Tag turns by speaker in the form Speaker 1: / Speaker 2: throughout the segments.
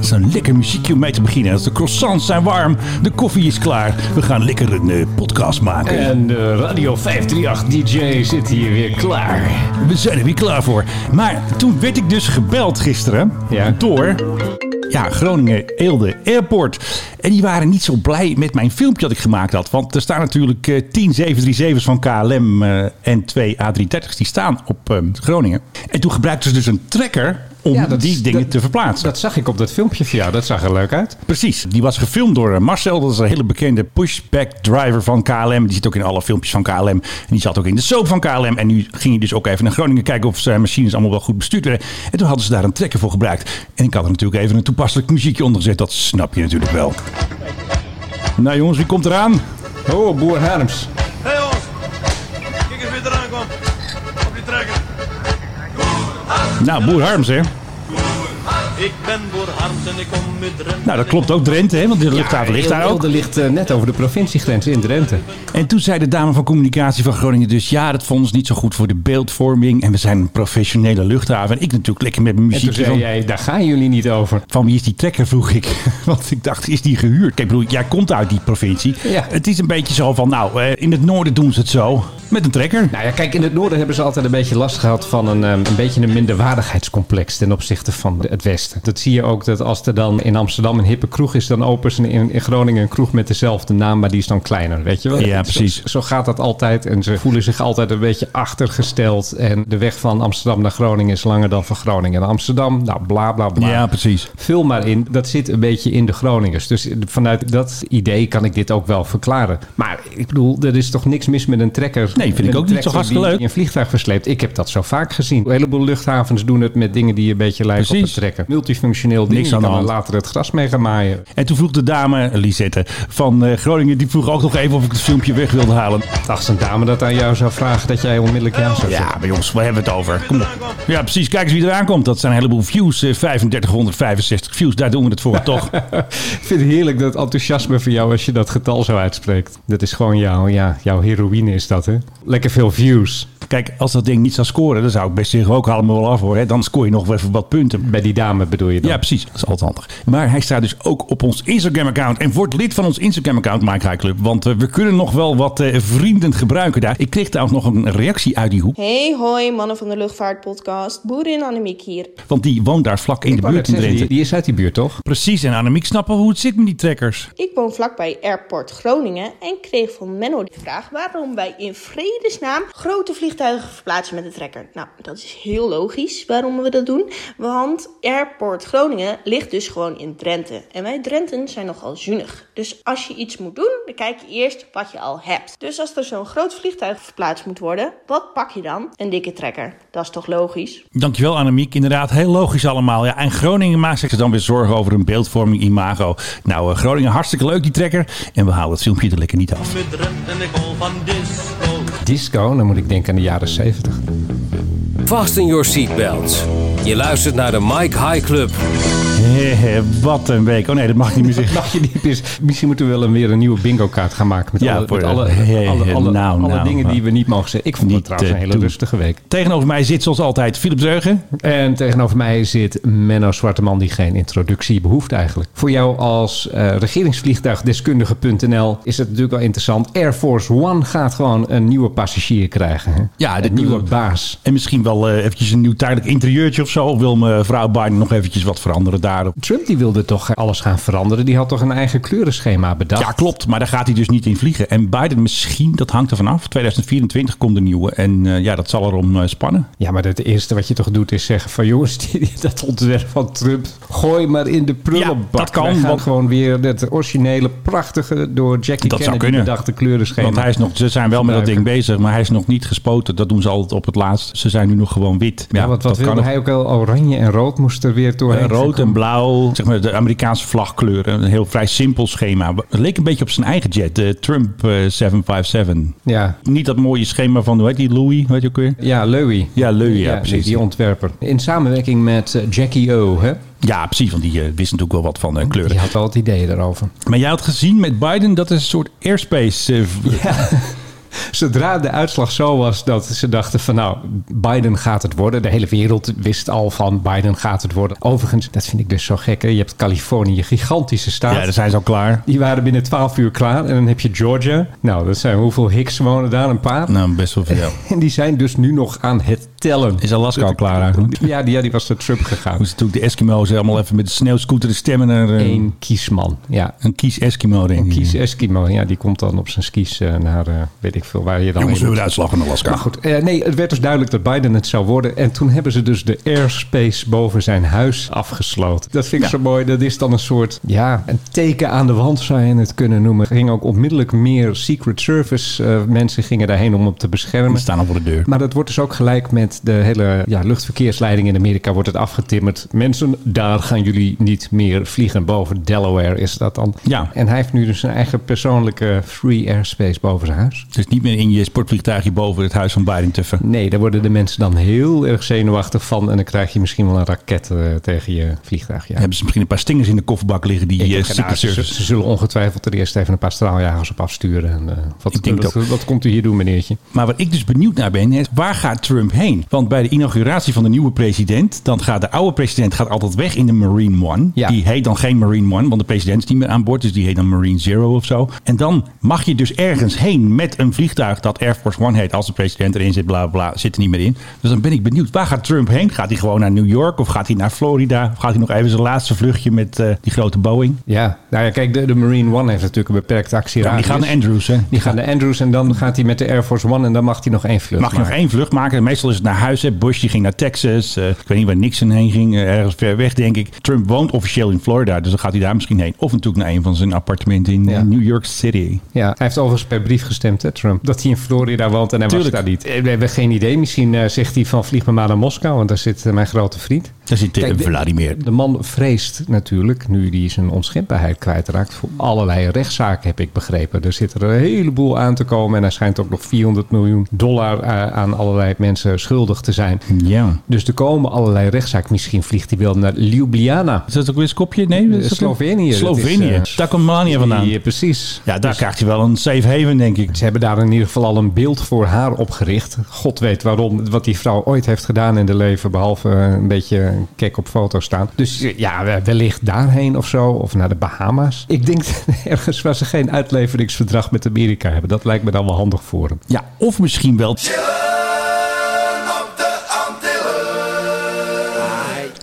Speaker 1: is een lekker muziekje om mee te beginnen. Als de croissants zijn warm, de koffie is klaar. We gaan lekker een eh, podcast maken.
Speaker 2: En eh, Radio 538 DJ zit hier weer klaar.
Speaker 1: We zijn er weer klaar voor. Maar toen werd ik dus gebeld gisteren
Speaker 2: Ja.
Speaker 1: door ja, Groningen Eelde Airport. En die waren niet zo blij met mijn filmpje dat ik gemaakt had. Want er staan natuurlijk eh 10 737's van KLM eh, en twee A330's die staan op eh, Groningen. En toen gebruikten ze dus een tracker om
Speaker 2: Ja, dat is-
Speaker 1: die dingen
Speaker 2: dat-
Speaker 1: te verplaatsen.
Speaker 2: Dat zag ik op dat filmpje van jou. Dat zag er leuk uit.
Speaker 1: Precies. Die was gefilmd door eh, Marcel. Dat is een hele bekende pushback driver van KLM. Die zit ook in alle filmpjes van KLM. En die zat ook in de soap van KLM. En nu ging hij dus ook even naar Groningen kijken of zijn machines allemaal wel goed bestuurd werden. En toen hadden ze daar een trekker voor gebruikt. En ik had er natuurlijk even een toepasselijk muziekje onder gezet. Dat snap je natuurlijk wel. Nou jongens, wie komt eraan?
Speaker 2: Oh, Boer Harms.
Speaker 3: Hé hey, jongens, kijk eens wie er aankwam. Op die trekker.
Speaker 1: Nou, Boer Harms hè.
Speaker 3: Ik ben Boer Harms en ik kom uit Drenthe.
Speaker 1: Nou, dat klopt ook Drenthe hè, want de luchthaven ligt daar ook.
Speaker 2: Eelde ligt eh, net over de provinciegrens in Drenthe.
Speaker 1: En toen zei de dame van communicatie van Groningen dus... ja, dat vond ons niet zo goed voor de beeldvorming... en we zijn een professionele luchthaven. En ik natuurlijk lekker met mijn
Speaker 2: En toen
Speaker 1: muziekje
Speaker 2: zei
Speaker 1: van...
Speaker 2: jij, daar gaan jullie niet over.
Speaker 1: Van wie is die trekker, vroeg ik. Want ik dacht, is die gehuurd? Kijk, ik bedoel, jij komt uit die provincie.
Speaker 2: Ja.
Speaker 1: Het is een beetje zo van, nou, eh, in het noorden doen ze het zo. Met een trekker.
Speaker 2: Nou ja, kijk, in het noorden hebben ze altijd een beetje last gehad van een, ehm, een beetje een minderwaardigheidscomplex ten opzichte van de- het westen. Dat zie je ook dat als er dan in Amsterdam een hippe kroeg is, dan openen ze in, in Groningen een kroeg met dezelfde naam, maar die is dan kleiner, weet je wel?
Speaker 1: Ja,
Speaker 2: Zo-
Speaker 1: precies.
Speaker 2: Zo, gaat dat altijd en ze voelen zich altijd een beetje achtergesteld. En de weg van Amsterdam naar Groningen is langer dan van Groningen naar Amsterdam. Nou, bla bla bla.
Speaker 1: Ja, precies.
Speaker 2: Vul maar in, dat zit een beetje in de Groningers. Dus vanuit dat idee kan ik dit ook wel verklaren. Maar ik bedoel, er is toch niks mis met een trekker.
Speaker 1: Nee, vind ik ook
Speaker 2: Een
Speaker 1: niet
Speaker 2: trekker
Speaker 1: zo hartstikke
Speaker 2: die
Speaker 1: leuk.
Speaker 2: een vliegtuig versleept. Ik heb dat zo vaak gezien. Een heleboel luchthavens doen het met dingen die een beetje lijken op
Speaker 1: Precies.
Speaker 2: een trekker. Multifunctioneel ding.
Speaker 1: Niks
Speaker 2: Je
Speaker 1: aan de
Speaker 2: kan er
Speaker 1: hand.
Speaker 2: later het gras mee gaan maaien.
Speaker 1: En toen vroeg de dame, Lisette, van eh, Groningen... die vroeg ook nog even of ik het filmpje weg wilde halen.
Speaker 2: Als een dame dat aan jou zou vragen, dat jij onmiddellijk ja zou zeggen.
Speaker 1: Oh, Ja, bij ons, waar hebben we het over? Kom op. Ja, precies. Kijk eens wie eraan komt. Dat zijn een heleboel views. eh, 3565 views, daar doen we het voor, toch?
Speaker 2: Ik vind het heerlijk dat enthousiasme van jou als je dat getal zo uitspreekt. Dat is gewoon jouw, ja, jouw heroïne is dat, hè? Lekker veel views.
Speaker 1: Kijk, als dat ding niet zou scoren... dan zou ik best zeggen, ook haal hem er wel af, hoor. Hè. Dan scoor je nog wel even wat punten.
Speaker 2: Bij die dame bedoel je dan?
Speaker 1: Ja, precies. Dat is altijd handig. Maar hij staat dus ook op ons Instagram-account. En word lid van ons Instagram-account, Mike High Club. Want eh, we kunnen nog wel wat eh, vrienden gebruiken daar. Ik kreeg trouwens nog een reactie uit die hoek.
Speaker 4: Hey, hoi, mannen van de luchtvaartpodcast. Boerin Annemiek hier.
Speaker 1: Want die woont daar vlak in
Speaker 2: Ik
Speaker 1: de
Speaker 2: wou
Speaker 1: buurt
Speaker 2: net
Speaker 1: in
Speaker 2: zeggen,
Speaker 1: Drenthe.
Speaker 2: Die, die is uit die buurt, toch?
Speaker 1: Precies. En Annemiek snappen hoe het zit met die trekkers.
Speaker 4: Ik woon vlakbij Airport Groningen en kreeg van Menno de vraag waarom wij in vredesnaam grote vliegtuigen verplaatsen met de trekker. Nou, dat is heel logisch waarom we dat doen, want Airport Groningen ligt dus gewoon in Drenthe. En wij Drenten zijn nogal zuinig. Dus als je iets moet doen, dan kijk je eerst wat je al hebt. Dus als er zo'n groot vliegtuig verplaatst moet worden, wat pak je dan? Een dikke trekker. Dat is toch logisch?
Speaker 1: Dankjewel Annemiek. Inderdaad, heel logisch allemaal. Ja, en Groningen maakt zich dan weer zorgen over een beeldvorming imago. Nou, eh, Groningen, hartstikke leuk die trekker. En we halen het filmpje er lekker niet af.
Speaker 3: Met Drenthe en ik hou van disco.
Speaker 2: Disco, dan moet ik denken aan de jaren 70.
Speaker 5: Fasten your seatbelts. Je luistert naar de Mike High Club.
Speaker 1: Hehe, wat een week. Oh nee, dat mag niet meer zeggen.
Speaker 2: Mag je niet eens- Misschien moeten we wel een, weer een nieuwe bingo kaart gaan maken. Met
Speaker 1: Ja,
Speaker 2: alle,
Speaker 1: voor
Speaker 2: met
Speaker 1: de-
Speaker 2: alle,
Speaker 1: Hey,
Speaker 2: alle, alle,
Speaker 1: nou,
Speaker 2: alle
Speaker 1: nou,
Speaker 2: dingen die
Speaker 1: maar-
Speaker 2: we niet mogen zeggen. Ik vond
Speaker 1: Niet
Speaker 2: het trouwens
Speaker 1: te
Speaker 2: een hele
Speaker 1: doen.
Speaker 2: rustige week.
Speaker 1: Tegenover mij zit zoals altijd Philip Zeugen.
Speaker 2: En tegenover mij zit Menno Zwarteman, die geen introductie behoeft eigenlijk. Voor jou als eh, regeringsvliegtuigdeskundige.nl is het natuurlijk wel interessant. Air Force One gaat gewoon een nieuwe passagier krijgen. Hè?
Speaker 1: Ja, de
Speaker 2: een nieuwe
Speaker 1: nieuwe-
Speaker 2: baas.
Speaker 1: En misschien wel eh, eventjes een nieuw tijdelijk interieurtje of zo. Of wil mevrouw Biden nog eventjes wat veranderen daarop?
Speaker 2: Trump die wilde toch alles gaan veranderen. Die had toch een eigen kleurenschema bedacht.
Speaker 1: Ja, klopt. Maar daar gaat hij dus niet in vliegen. En Biden misschien, dat hangt er vanaf. 2024 komt de nieuwe. En eh, ja, dat zal erom eh, spannen.
Speaker 2: Ja, maar het eerste wat je toch doet is zeggen van jongens, die- die- dat ontwerp van Trump, gooi maar in de prullenbak.
Speaker 1: Ja, dat kan,
Speaker 2: Wij gaan
Speaker 1: want-
Speaker 2: gewoon weer het originele, prachtige, door Jackie
Speaker 1: Dat zou
Speaker 2: Kennedy
Speaker 1: kunnen.
Speaker 2: bedachte kleurenschema.
Speaker 1: Want hij is nog, ze zijn wel met dat ding bezig, maar hij is nog niet gespoten. Dat doen ze altijd op het laatst. Ze zijn nu nog gewoon wit.
Speaker 2: Ja, want wat
Speaker 1: dat
Speaker 2: wilde
Speaker 1: ook.
Speaker 2: hij ook wel? Oranje en rood moest er weer doorheen.
Speaker 1: Eh, rood en blauw, zeg maar de Amerikaanse vlagkleuren. Een heel vrij simpel schema. Het leek een beetje op zijn eigen jet, de Trump eh, 757.
Speaker 2: Ja.
Speaker 1: Niet dat mooie schema van, hoe heet die, Louis, weet je ook weer?
Speaker 2: Ja, Louis.
Speaker 1: Ja, Louis, ja,
Speaker 2: die-
Speaker 1: precies.
Speaker 2: Die ontwerper. In samenwerking met eh, Jackie O. Hè?
Speaker 1: Ja, precies, want die eh, wist natuurlijk wel wat van eh, kleuren.
Speaker 2: Die had al het idee daarover.
Speaker 1: Maar jij had gezien met Biden, dat is een soort airspace. eh, v-
Speaker 2: Zodra de uitslag zo was dat ze dachten van nou, Biden gaat het worden. De hele wereld wist al van Biden gaat het worden. Overigens, dat vind ik dus zo gek. Hè? Je hebt Californië, gigantische staat.
Speaker 1: Ja, daar zijn ze al klaar.
Speaker 2: Die waren binnen 12 uur klaar. En dan heb je Georgia. Nou, dat zijn hoeveel Hicks wonen daar? Een paar.
Speaker 1: Nou, best wel veel.
Speaker 2: En die zijn dus nu nog aan het tellen.
Speaker 1: Is Alaska al klaar eigenlijk?
Speaker 2: Ja, die, ja, die was naar Trump gegaan.
Speaker 1: Moesten natuurlijk de Eskimo's helemaal even met de sneeuwscooter de stemmen naar eh, Hmm.
Speaker 2: Eén kiesman. Ja.
Speaker 1: een kies Eskimo denk ik.
Speaker 2: Kies Eskimo. Ja, die komt dan op zijn skis eh, naar eh, weet ik veel waar je dan.
Speaker 1: Jongens, we
Speaker 2: heen
Speaker 1: hebben
Speaker 2: moet.
Speaker 1: de uitslag van Alaska.
Speaker 2: Maar goed, eh, nee, het werd dus duidelijk dat Biden het zou worden. En toen hebben ze dus de airspace boven zijn huis afgesloten. Dat vind ik zo mooi. Dat is dan een soort, ja, een teken aan de wand zou je het kunnen noemen. Er gingen ook onmiddellijk meer Secret Service eh, mensen gingen daarheen om hem te
Speaker 1: We
Speaker 2: beschermen.
Speaker 1: staan al voor de deur.
Speaker 2: Maar dat wordt dus ook gelijk met de hele ja, luchtverkeersleiding in Amerika wordt het afgetimmerd. Mensen, daar gaan jullie niet meer vliegen. Boven Delaware is dat dan.
Speaker 1: Ja.
Speaker 2: En hij heeft nu dus zijn eigen persoonlijke free airspace boven zijn huis.
Speaker 1: Dus niet meer in je sportvliegtuigje boven het huis van Biden tuffen.
Speaker 2: Nee, daar worden de mensen dan heel erg zenuwachtig van. En dan krijg je misschien wel een raket eh, tegen je vliegtuig. Ja.
Speaker 1: Hebben ze misschien een paar stingers in de kofferbak liggen die
Speaker 2: Ik
Speaker 1: eh,
Speaker 2: heb geen
Speaker 1: Secret
Speaker 2: aard. ze,
Speaker 1: Service...
Speaker 2: ze zullen ongetwijfeld er eerst even een paar straaljagers op afsturen. En, eh,
Speaker 1: Ik
Speaker 2: wat,
Speaker 1: denk
Speaker 2: wat,
Speaker 1: dat-
Speaker 2: wat komt u hier doen, meneertje?
Speaker 1: Maar wat ik dus benieuwd naar ben, is waar gaat Trump heen? Want bij de inauguratie van de nieuwe president, dan gaat de oude president gaat altijd weg in de Marine One.
Speaker 2: Ja.
Speaker 1: Die heet dan geen Marine One, want de president is niet meer aan boord, dus die heet dan Marine Zero of zo. En dan mag je dus ergens heen met een vliegtuig dat Air Force One heet, als de president erin zit, bla bla, bla, zit er niet meer in. Dus dan ben ik benieuwd, waar gaat Trump heen? Gaat hij gewoon naar New York of gaat hij naar Florida? Of gaat hij nog even zijn laatste vluchtje met eh, die grote Boeing?
Speaker 2: Ja, nou ja, kijk, de, de Marine One heeft natuurlijk een beperkt
Speaker 1: die
Speaker 2: actieradius.
Speaker 1: gaan naar Andrews, hè?
Speaker 2: Die gaan naar Andrews en dan gaat hij met de Air Force One en dan mag hij nog één vlucht
Speaker 1: Mag je nog
Speaker 2: maken.
Speaker 1: één vlucht maken? Meestal is het naar huis. Hè. Bush die ging naar Texas. Eh, ik weet niet waar Nixon heen ging. Eh, ergens ver weg, denk ik. Trump woont officieel in Florida. Dus dan gaat hij daar misschien heen. Of natuurlijk naar een van zijn appartementen in eh,
Speaker 2: Ja.
Speaker 1: New York City.
Speaker 2: Ja, hij heeft overigens per brief gestemd, hè, Trump. Dat hij in Florida woont en hij
Speaker 1: Tuurlijk.
Speaker 2: was daar niet. Eh, We hebben geen idee. Misschien eh, zegt hij van vlieg me maar naar Moskou, want daar zit eh, mijn grote vriend.
Speaker 1: Daar zit eh,
Speaker 2: Kijk, de-
Speaker 1: Vladimir.
Speaker 2: De man vreest natuurlijk, nu hij zijn onschendbaarheid kwijtraakt, voor allerlei rechtszaken, heb ik begrepen. Er zit er een heleboel aan te komen en hij schijnt ook nog 400 miljoen dollar eh, aan allerlei mensen schuldig te zijn.
Speaker 1: Ja.
Speaker 2: Dus er komen allerlei rechtszaken. Misschien vliegt hij wel naar Ljubljana.
Speaker 1: Is dat ook weer een kopje? Nee, dat is ook-
Speaker 2: Slovenië. dat
Speaker 1: Slovenië.
Speaker 2: is, eh,
Speaker 1: daar komt Melania vandaan.
Speaker 2: Ja, precies.
Speaker 1: Ja, daar krijgt hij wel een safe haven, denk ik.
Speaker 2: Ze hebben daar in ieder geval al een beeld voor haar opgericht. God weet waarom, wat die vrouw ooit heeft gedaan in de leven, behalve eh, een beetje kek op foto's staan. Dus eh, ja, we- wellicht daarheen of zo, of naar de Bahama's. Ik denk ergens waar ze geen uitleveringsverdrag met Amerika hebben. Dat lijkt me dan wel handig voor hem.
Speaker 1: Ja, of misschien wel.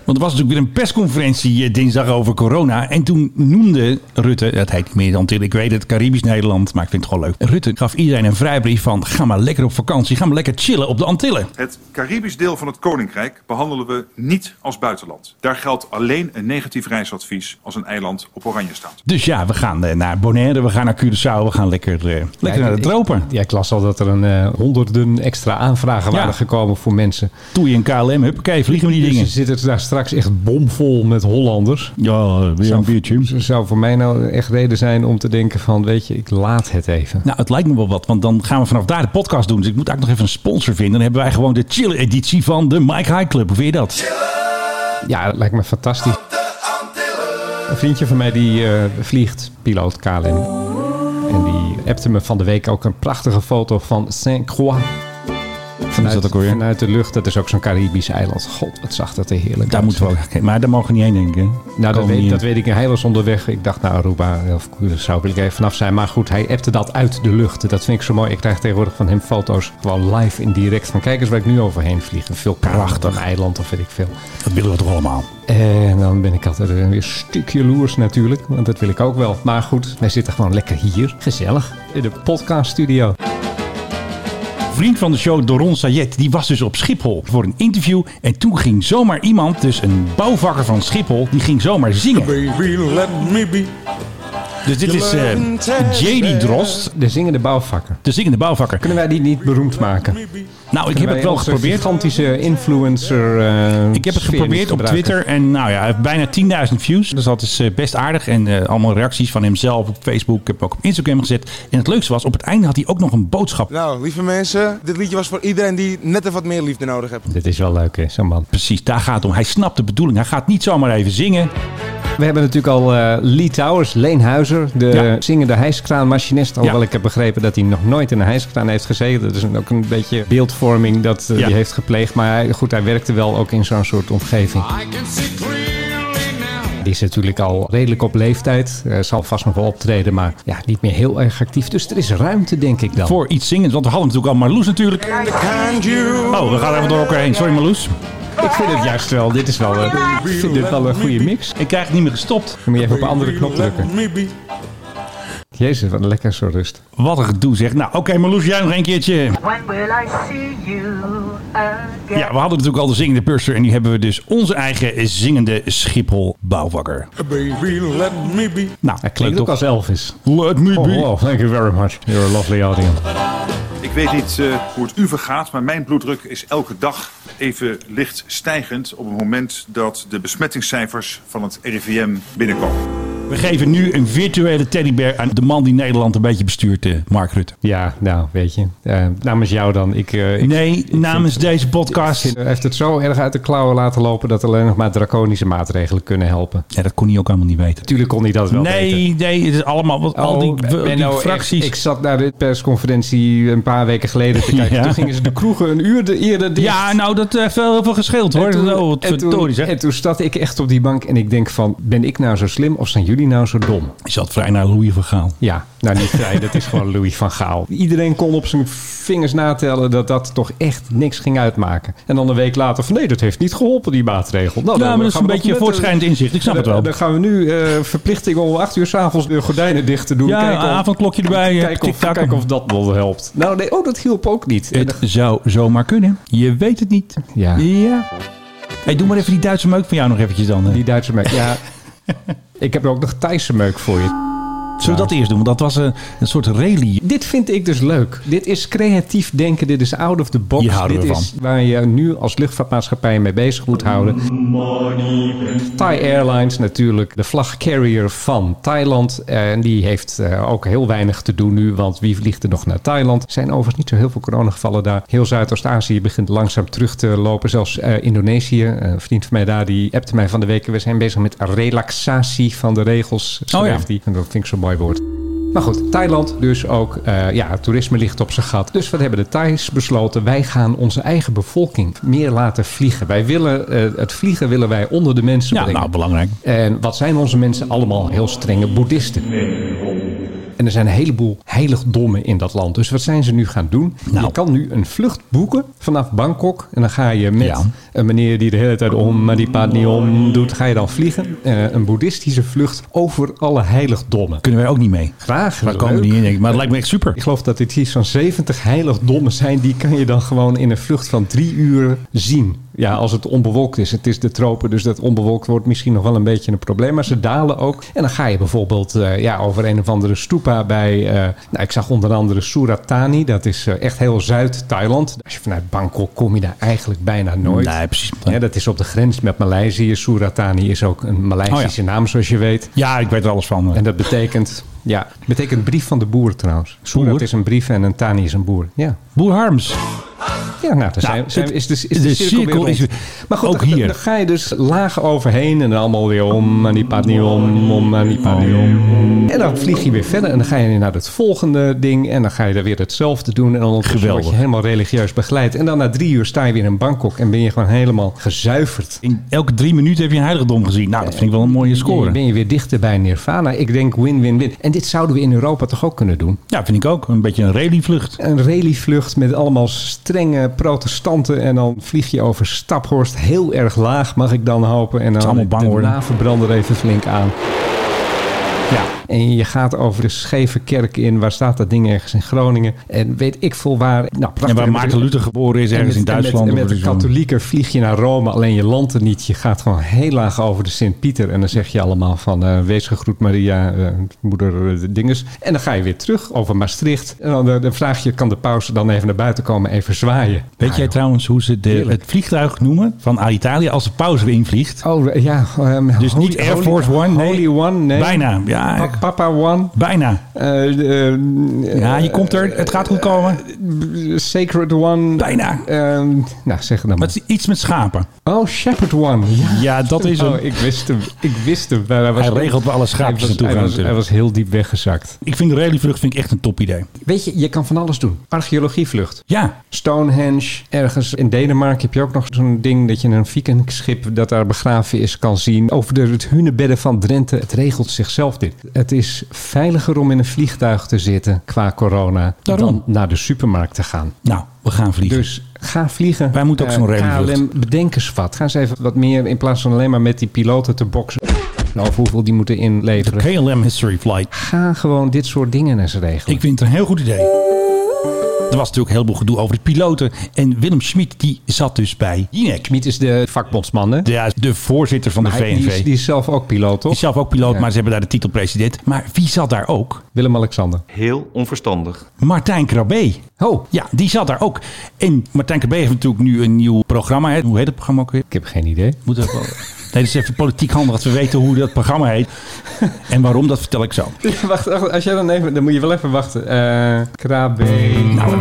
Speaker 1: Want er was natuurlijk weer een persconferentie eh, dinsdag over corona. En toen noemde Rutte, dat heet niet meer dan Antillen, ik weet het, Caribisch Nederland, maar ik vind het gewoon leuk. Rutte gaf iedereen een vrijbrief van ga maar lekker op vakantie, ga maar lekker chillen op de Antillen.
Speaker 6: Het Caribisch deel van het Koninkrijk behandelen we niet als buitenland. Daar geldt alleen een negatief reisadvies als een eiland op oranje staat.
Speaker 1: Dus ja, we gaan eh, naar Bonaire, we gaan naar Curaçao, we gaan lekker, eh, lekker
Speaker 2: Ja,
Speaker 1: naar de
Speaker 2: ik-
Speaker 1: tropen.
Speaker 2: Ja, ik las al dat er een, eh, honderden extra aanvragen
Speaker 1: Ja.
Speaker 2: waren gekomen voor mensen.
Speaker 1: Toei en KLM, huppakee, vliegen we die
Speaker 2: Dus je
Speaker 1: dingen.
Speaker 2: zit het daar straks echt bomvol met Hollanders.
Speaker 1: Ja, weer een biertje.
Speaker 2: Dus er zou voor mij nou echt reden zijn om te denken van, weet je, ik laat het even.
Speaker 1: Nou, het lijkt me wel wat, want dan gaan we vanaf daar de podcast doen. Dus ik moet eigenlijk nog even een sponsor vinden. Dan hebben wij gewoon de chille editie van de Mike High Club. Hoe vind je dat?
Speaker 2: Ja, dat lijkt me fantastisch. Een vriendje van mij die eh, vliegt, piloot KLM. En die appte me van de week ook een prachtige foto van Saint-Croix. Vanuit,
Speaker 1: dat ook alweer?
Speaker 2: vanuit de lucht, dat is ook zo'n Caribisch eiland. God, wat zag dat er heerlijk
Speaker 1: Daar
Speaker 2: uit.
Speaker 1: moeten we ook. oké, Maar daar mogen we niet heen denken.
Speaker 2: Nou, dat
Speaker 1: Komen
Speaker 2: weet,
Speaker 1: niet
Speaker 2: dat
Speaker 1: in.
Speaker 2: weet ik. Hij was onderweg. Ik dacht, nou, Aruba of Curaçao wil ik even vanaf zijn. Maar goed, hij appte dat uit de lucht. Dat vind ik zo mooi. Ik krijg tegenwoordig van hem foto's gewoon live in direct. Van kijk eens waar ik nu overheen vlieg. Een vulkaan, of een eiland of weet ik veel.
Speaker 1: Dat willen we toch allemaal.
Speaker 2: En dan ben ik altijd weer een stuk jaloers natuurlijk, want dat wil ik ook wel. Maar goed, wij zitten gewoon lekker hier, gezellig, in de podcaststudio.
Speaker 1: Vriend van de show Doron Sayed, die was dus op Schiphol voor een interview. En toen ging zomaar iemand, dus een bouwvakker van Schiphol, die ging zomaar zingen.
Speaker 7: Baby, let me be.
Speaker 1: Dus dit is eh J.D. Drost,
Speaker 2: De zingende bouwvakker.
Speaker 1: de zingende bouwvakker.
Speaker 2: Kunnen wij die niet beroemd maken? Ik
Speaker 1: Nou, ik heb het wel geprobeerd.
Speaker 2: gigantische influencer eh,
Speaker 1: Ik heb het
Speaker 2: sfeer
Speaker 1: geprobeerd
Speaker 2: niet
Speaker 1: op
Speaker 2: gebruiken.
Speaker 1: Twitter en nou ja, hij heeft bijna 10.000 views. Dus dat is eh, best aardig. En eh, allemaal reacties van hemzelf op Facebook. Ik heb hem ook op Instagram gezet. En het leukste was, op het einde had hij ook nog een boodschap.
Speaker 7: Nou, lieve mensen, dit liedje was voor iedereen die net even wat meer liefde nodig heeft.
Speaker 2: Dit is wel leuk, hè, zo'n man.
Speaker 1: Precies, daar gaat het om. Hij snapt de bedoeling. Hij gaat niet zomaar even zingen.
Speaker 2: We hebben natuurlijk al eh, Lee Towers, Leenhuizer, de
Speaker 1: Ja.
Speaker 2: zingende hijskraanmachinist. Alhoewel
Speaker 1: Ja.
Speaker 2: ik heb begrepen dat hij nog nooit in een hijskraan heeft gezeten. Dat is een- ook een beetje beeldvorming dat eh,
Speaker 1: Ja.
Speaker 2: hij heeft gepleegd. Maar hij- goed, hij werkte wel ook in zo'n soort omgeving. Die is natuurlijk al redelijk op leeftijd. Eh, zal vast nog wel optreden, maar ja, niet meer heel erg actief. Dus er is ruimte, denk ik dan.
Speaker 1: Voor iets zingends, want we hadden natuurlijk al Marloes natuurlijk. Oh, we gaan even door elkaar heen. Sorry Marloes.
Speaker 2: Ik vind het juist wel. Dit is wel, eh, ik vind dit wel een goede mix.
Speaker 1: Ik krijg het niet meer gestopt.
Speaker 2: Dan moet je even op een andere knop drukken. Jezus, wat lekker zo rust.
Speaker 1: Wat een gedoe zeg. Nou, oké Marloes, jij nog een keertje.
Speaker 8: When will I see you again?
Speaker 1: Ja, we hadden natuurlijk al de zingende purser en nu hebben we dus onze eigen zingende Schiphol bouwvakker.
Speaker 7: Baby, let me be.
Speaker 1: Nou,
Speaker 2: Hij klinkt ook als Elvis.
Speaker 1: Let me
Speaker 2: Oh,
Speaker 1: be.
Speaker 2: wow, thank you very much. You're a lovely audience.
Speaker 6: Ik weet niet eh, hoe het u vergaat, maar mijn bloeddruk is elke dag even licht stijgend op het moment dat de besmettingscijfers van het RIVM binnenkomen.
Speaker 1: We geven nu een virtuele teddybeer aan de man die Nederland een beetje bestuurt, eh, Mark Rutte.
Speaker 2: Ja, nou, weet je. Eh, namens jou dan. Ik, eh, ik
Speaker 1: Nee, namens deze podcast.
Speaker 2: vind- hij heeft het zo erg uit de klauwen laten lopen dat alleen nog maar draconische maatregelen kunnen helpen.
Speaker 1: Ja, dat kon hij ook allemaal niet weten.
Speaker 2: Tuurlijk kon hij dat wel weten.
Speaker 1: Nee, nee, het is allemaal wat, al die,
Speaker 2: Oh,
Speaker 1: die
Speaker 2: Benno,
Speaker 1: fracties.
Speaker 2: Ik, ik zat naar de persconferentie een paar weken geleden te kijken.
Speaker 1: Ja.
Speaker 2: Toen gingen ze de kroegen een uur de, eerder dicht.
Speaker 1: ja, nou, dat heeft wel heel veel gescheeld hoor.
Speaker 2: En toen,
Speaker 1: oh, wat
Speaker 2: en, toen,
Speaker 1: verdorie, zeg.
Speaker 2: en toen zat ik echt op die bank en ik denk van, ben ik nou zo slim of zijn jullie nou zo dom?
Speaker 1: Je zat vrij naar Louis van Gaal.
Speaker 2: Ja, nou niet vrij, dat is gewoon Louis van Gaal. Iedereen kon op zijn vingers natellen dat dat toch echt niks ging uitmaken. En dan een week later van nee, dat heeft niet geholpen, die maatregel. Nou,
Speaker 1: Ja,
Speaker 2: dan
Speaker 1: maar dat is
Speaker 2: gaan
Speaker 1: een
Speaker 2: we
Speaker 1: beetje
Speaker 2: net-
Speaker 1: voortschrijdend inzicht. Ik snap het wel.
Speaker 2: Dan gaan we nu eh verplichting om acht uur s'avonds de gordijnen dicht te doen.
Speaker 1: Ja,
Speaker 2: Kijken of-
Speaker 1: een avondklokje erbij, eh,
Speaker 2: Kijken of,
Speaker 1: tik-tak.
Speaker 2: kijken of dat wel helpt. Nou nee, oh, dat hielp ook niet. En
Speaker 1: Het zou zomaar kunnen. Je weet het niet.
Speaker 2: Ja.
Speaker 1: ja. Hey, doe maar even die Duitse meuk van jou nog eventjes dan. eh.
Speaker 2: Die Duitse meuk, ja. Ik heb er ook nog Thaise meuk voor je.
Speaker 1: Zullen we dat eerst doen? Want dat was een, een soort rally.
Speaker 2: Dit vind ik dus leuk. Dit is creatief denken. Dit is out of the box.
Speaker 1: Hier houden
Speaker 2: dit
Speaker 1: we
Speaker 2: is waar je nu als luchtvaartmaatschappij mee bezig moet houden. Thai Airlines natuurlijk, de vlagcarrier van Thailand. En die heeft eh, ook heel weinig te doen nu, want wie vliegt er nog naar Thailand? Er zijn overigens niet zo heel veel coronagevallen daar. Heel Zuidoost-Azië begint langzaam terug te lopen. Zelfs eh, Indonesië, eh, een vriend van mij daar, die appte mij van de week. We zijn bezig met relaxatie van de regels, schrijft
Speaker 1: Oh ja.
Speaker 2: hij. En dat vind ik zo'n mooi woord. Maar goed, Thailand dus ook. eh, ja, toerisme ligt op zijn gat. Dus wat hebben de Thais besloten? Wij gaan onze eigen bevolking meer laten vliegen. Wij willen, eh, het vliegen willen wij onder de mensen
Speaker 1: Ja,
Speaker 2: brengen.
Speaker 1: nou, belangrijk.
Speaker 2: En wat zijn onze mensen allemaal? Heel strenge boeddhisten. En er zijn een heleboel heiligdommen in dat land. Dus wat zijn ze nu gaan doen?
Speaker 1: Nou.
Speaker 2: Je kan nu een vlucht boeken vanaf Bangkok. En dan ga je met
Speaker 1: Ja.
Speaker 2: een meneer die de hele tijd om Madipat niet om doet. Ga je dan vliegen. Eh, een boeddhistische vlucht over alle heiligdommen.
Speaker 1: Kunnen wij ook niet mee.
Speaker 2: Graag.
Speaker 1: Wij komen er
Speaker 2: leuk.
Speaker 1: niet in, denk ik. Maar het lijkt me echt super.
Speaker 2: Ik geloof dat dit iets van 70 heiligdommen zijn. Die kan je dan gewoon in een vlucht van drie uur zien. Ja, als het onbewolkt is. Het is de tropen, dus dat onbewolkt wordt misschien nog wel een beetje een probleem. Maar ze dalen ook. En dan ga je bijvoorbeeld eh, ja, over een of andere stupa bij... eh, nou, ik zag onder andere Surat Thani. Dat is eh, echt heel Zuid-Thailand. Als je vanuit Bangkok kom je daar eigenlijk bijna nooit.
Speaker 1: Nee, precies.
Speaker 2: Ja, dat is op de grens met Maleisië. Surat Thani is ook een Maleisische naam, zoals je weet.
Speaker 1: Ja, ik weet er alles van.
Speaker 2: En dat betekent, ja, betekent brief van de boer trouwens. Boer? Dat is een brief en een tani is een boer. Ja,
Speaker 1: Boer Harms.
Speaker 2: ja nou, daar zijn, zijn,
Speaker 1: het-
Speaker 2: is de, is de,
Speaker 1: de
Speaker 2: cirkel, weer
Speaker 1: cirkel
Speaker 2: rond.
Speaker 1: is-
Speaker 2: Maar goed,
Speaker 1: ook
Speaker 2: dan,
Speaker 1: hier.
Speaker 2: dan ga je dus laag overheen en dan allemaal weer om, en die paard niet om, om, en die paard niet om. En dan vlieg je weer verder en dan ga je weer naar het volgende ding en dan ga je daar weer hetzelfde doen. En dan word
Speaker 1: Geweldig.
Speaker 2: je helemaal religieus begeleid. En dan na drie uur sta je weer in Bangkok en ben je gewoon helemaal gezuiverd.
Speaker 1: In elke drie minuten heb je een heiligdom gezien. Nou, dat vind ik wel een mooie
Speaker 2: Dan
Speaker 1: score.
Speaker 2: Ben je weer dichter bij Nirvana. Ik denk win-win-win. En dit zouden we in Europa toch ook kunnen doen?
Speaker 1: Ja, vind ik ook. Een beetje een rallyvlucht.
Speaker 2: een rallyvlucht met allemaal strenge protestanten. En dan vlieg je over Staphorst heel erg laag, mag ik dan hopen. En dan
Speaker 1: allemaal bang
Speaker 2: de
Speaker 1: worden.
Speaker 2: navelbrander even flink aan. Ja, en je gaat over de scheve kerk in. Waar staat dat ding ergens in Groningen? En weet ik veel waar. Nou, prachtig.
Speaker 1: En waar
Speaker 2: met-
Speaker 1: Maarten Luther geboren is,
Speaker 2: en
Speaker 1: ergens
Speaker 2: met-
Speaker 1: in Duitsland.
Speaker 2: En met, en
Speaker 1: of
Speaker 2: met de
Speaker 1: zo.
Speaker 2: katholieken vlieg je naar Rome, alleen je landt er niet. Je gaat gewoon heel laag over de Sint-Pieter. En dan zeg je allemaal van eh, wees gegroet Maria, eh, moeder eh, de dinges. En dan ga je weer terug over Maastricht. En dan, eh, dan vraag je, kan de paus dan even naar buiten komen, even zwaaien?
Speaker 1: Weet jij trouwens hoe ze de,
Speaker 2: Heerlijk.
Speaker 1: het vliegtuig noemen van Alitalia als de pauze erin vliegt?
Speaker 2: Oh, eh, ja. ehm,
Speaker 1: Dus niet Air Force One, nee.
Speaker 2: Holy One, nee.
Speaker 1: Bijna, ja.
Speaker 2: Had
Speaker 1: eigenlijk.
Speaker 2: Papa One.
Speaker 1: Bijna.
Speaker 2: eh, eh,
Speaker 1: Ja, je komt er. Het gaat goed komen.
Speaker 2: eh, Sacred One.
Speaker 1: Bijna.
Speaker 2: eh, nou, zeg het dan
Speaker 1: Maar
Speaker 2: maar.
Speaker 1: het is iets met schapen.
Speaker 2: Oh, Shepherd One. Ja,
Speaker 1: Ja, dat is hem.
Speaker 2: Oh, ik wist hem. Ik wist hem. Nou, Hij, was-
Speaker 1: Hij regelt waar alle schaapjes
Speaker 2: hij was-
Speaker 1: naartoe
Speaker 2: hij
Speaker 1: gaan
Speaker 2: was-
Speaker 1: natuurlijk.
Speaker 2: Hij was heel diep weggezakt.
Speaker 1: Ik vind de rallyvlucht vind ik echt een top idee.
Speaker 2: Weet je, je kan van alles doen. Archeologievlucht.
Speaker 1: Ja,
Speaker 2: Stonehenge. Ergens in Denemarken heb je ook nog zo'n ding dat je een vikingschip dat daar begraven is kan zien. Over de, het hunebedden van Drenthe. Het regelt zichzelf dit. Het is veiliger om in een vliegtuig te zitten qua corona
Speaker 1: Daarom.
Speaker 2: dan naar de supermarkt te gaan.
Speaker 1: nou, we gaan vliegen.
Speaker 2: Dus ga vliegen.
Speaker 1: Wij moeten ook
Speaker 2: Eh,
Speaker 1: zo'n rally
Speaker 2: KLM, bedenk eens wat. Ga eens even wat meer in plaats van alleen maar met die piloten te boksen. Nou, of hoeveel die moeten inleveren.
Speaker 1: KLM History Flight.
Speaker 2: Ga gewoon dit soort dingen eens regelen.
Speaker 1: Ik vind het een heel goed idee. Er was natuurlijk heel veel gedoe over de piloten. En Willem Schmid die zat dus bij Jinek.
Speaker 2: Schmid is de vakbondsman, hè?
Speaker 1: Ja, de voorzitter van de
Speaker 2: Hij- die, is,
Speaker 1: VNV.
Speaker 2: die
Speaker 1: Die
Speaker 2: is zelf ook piloot, toch?
Speaker 1: is zelf ook piloot,
Speaker 2: Ja.
Speaker 1: maar ze hebben daar de titel president. Maar wie zat daar ook?
Speaker 2: Willem-Alexander.
Speaker 9: Heel onverstandig.
Speaker 1: Martijn Krabbe.
Speaker 2: Oh,
Speaker 1: Ja, die zat daar ook. En Martijn Krabbe heeft natuurlijk nu een nieuw programma. Hè? Hoe heet het programma ook weer?
Speaker 2: ik heb geen idee.
Speaker 1: Moet ook wel... Nee, dat is even politiek handig dat we weten hoe dat programma heet. En waarom, dat vertel ik zo.
Speaker 2: wacht, wacht, als jij dan even, dan moet je wel even wachten. Eh Krabbe.
Speaker 1: Nou,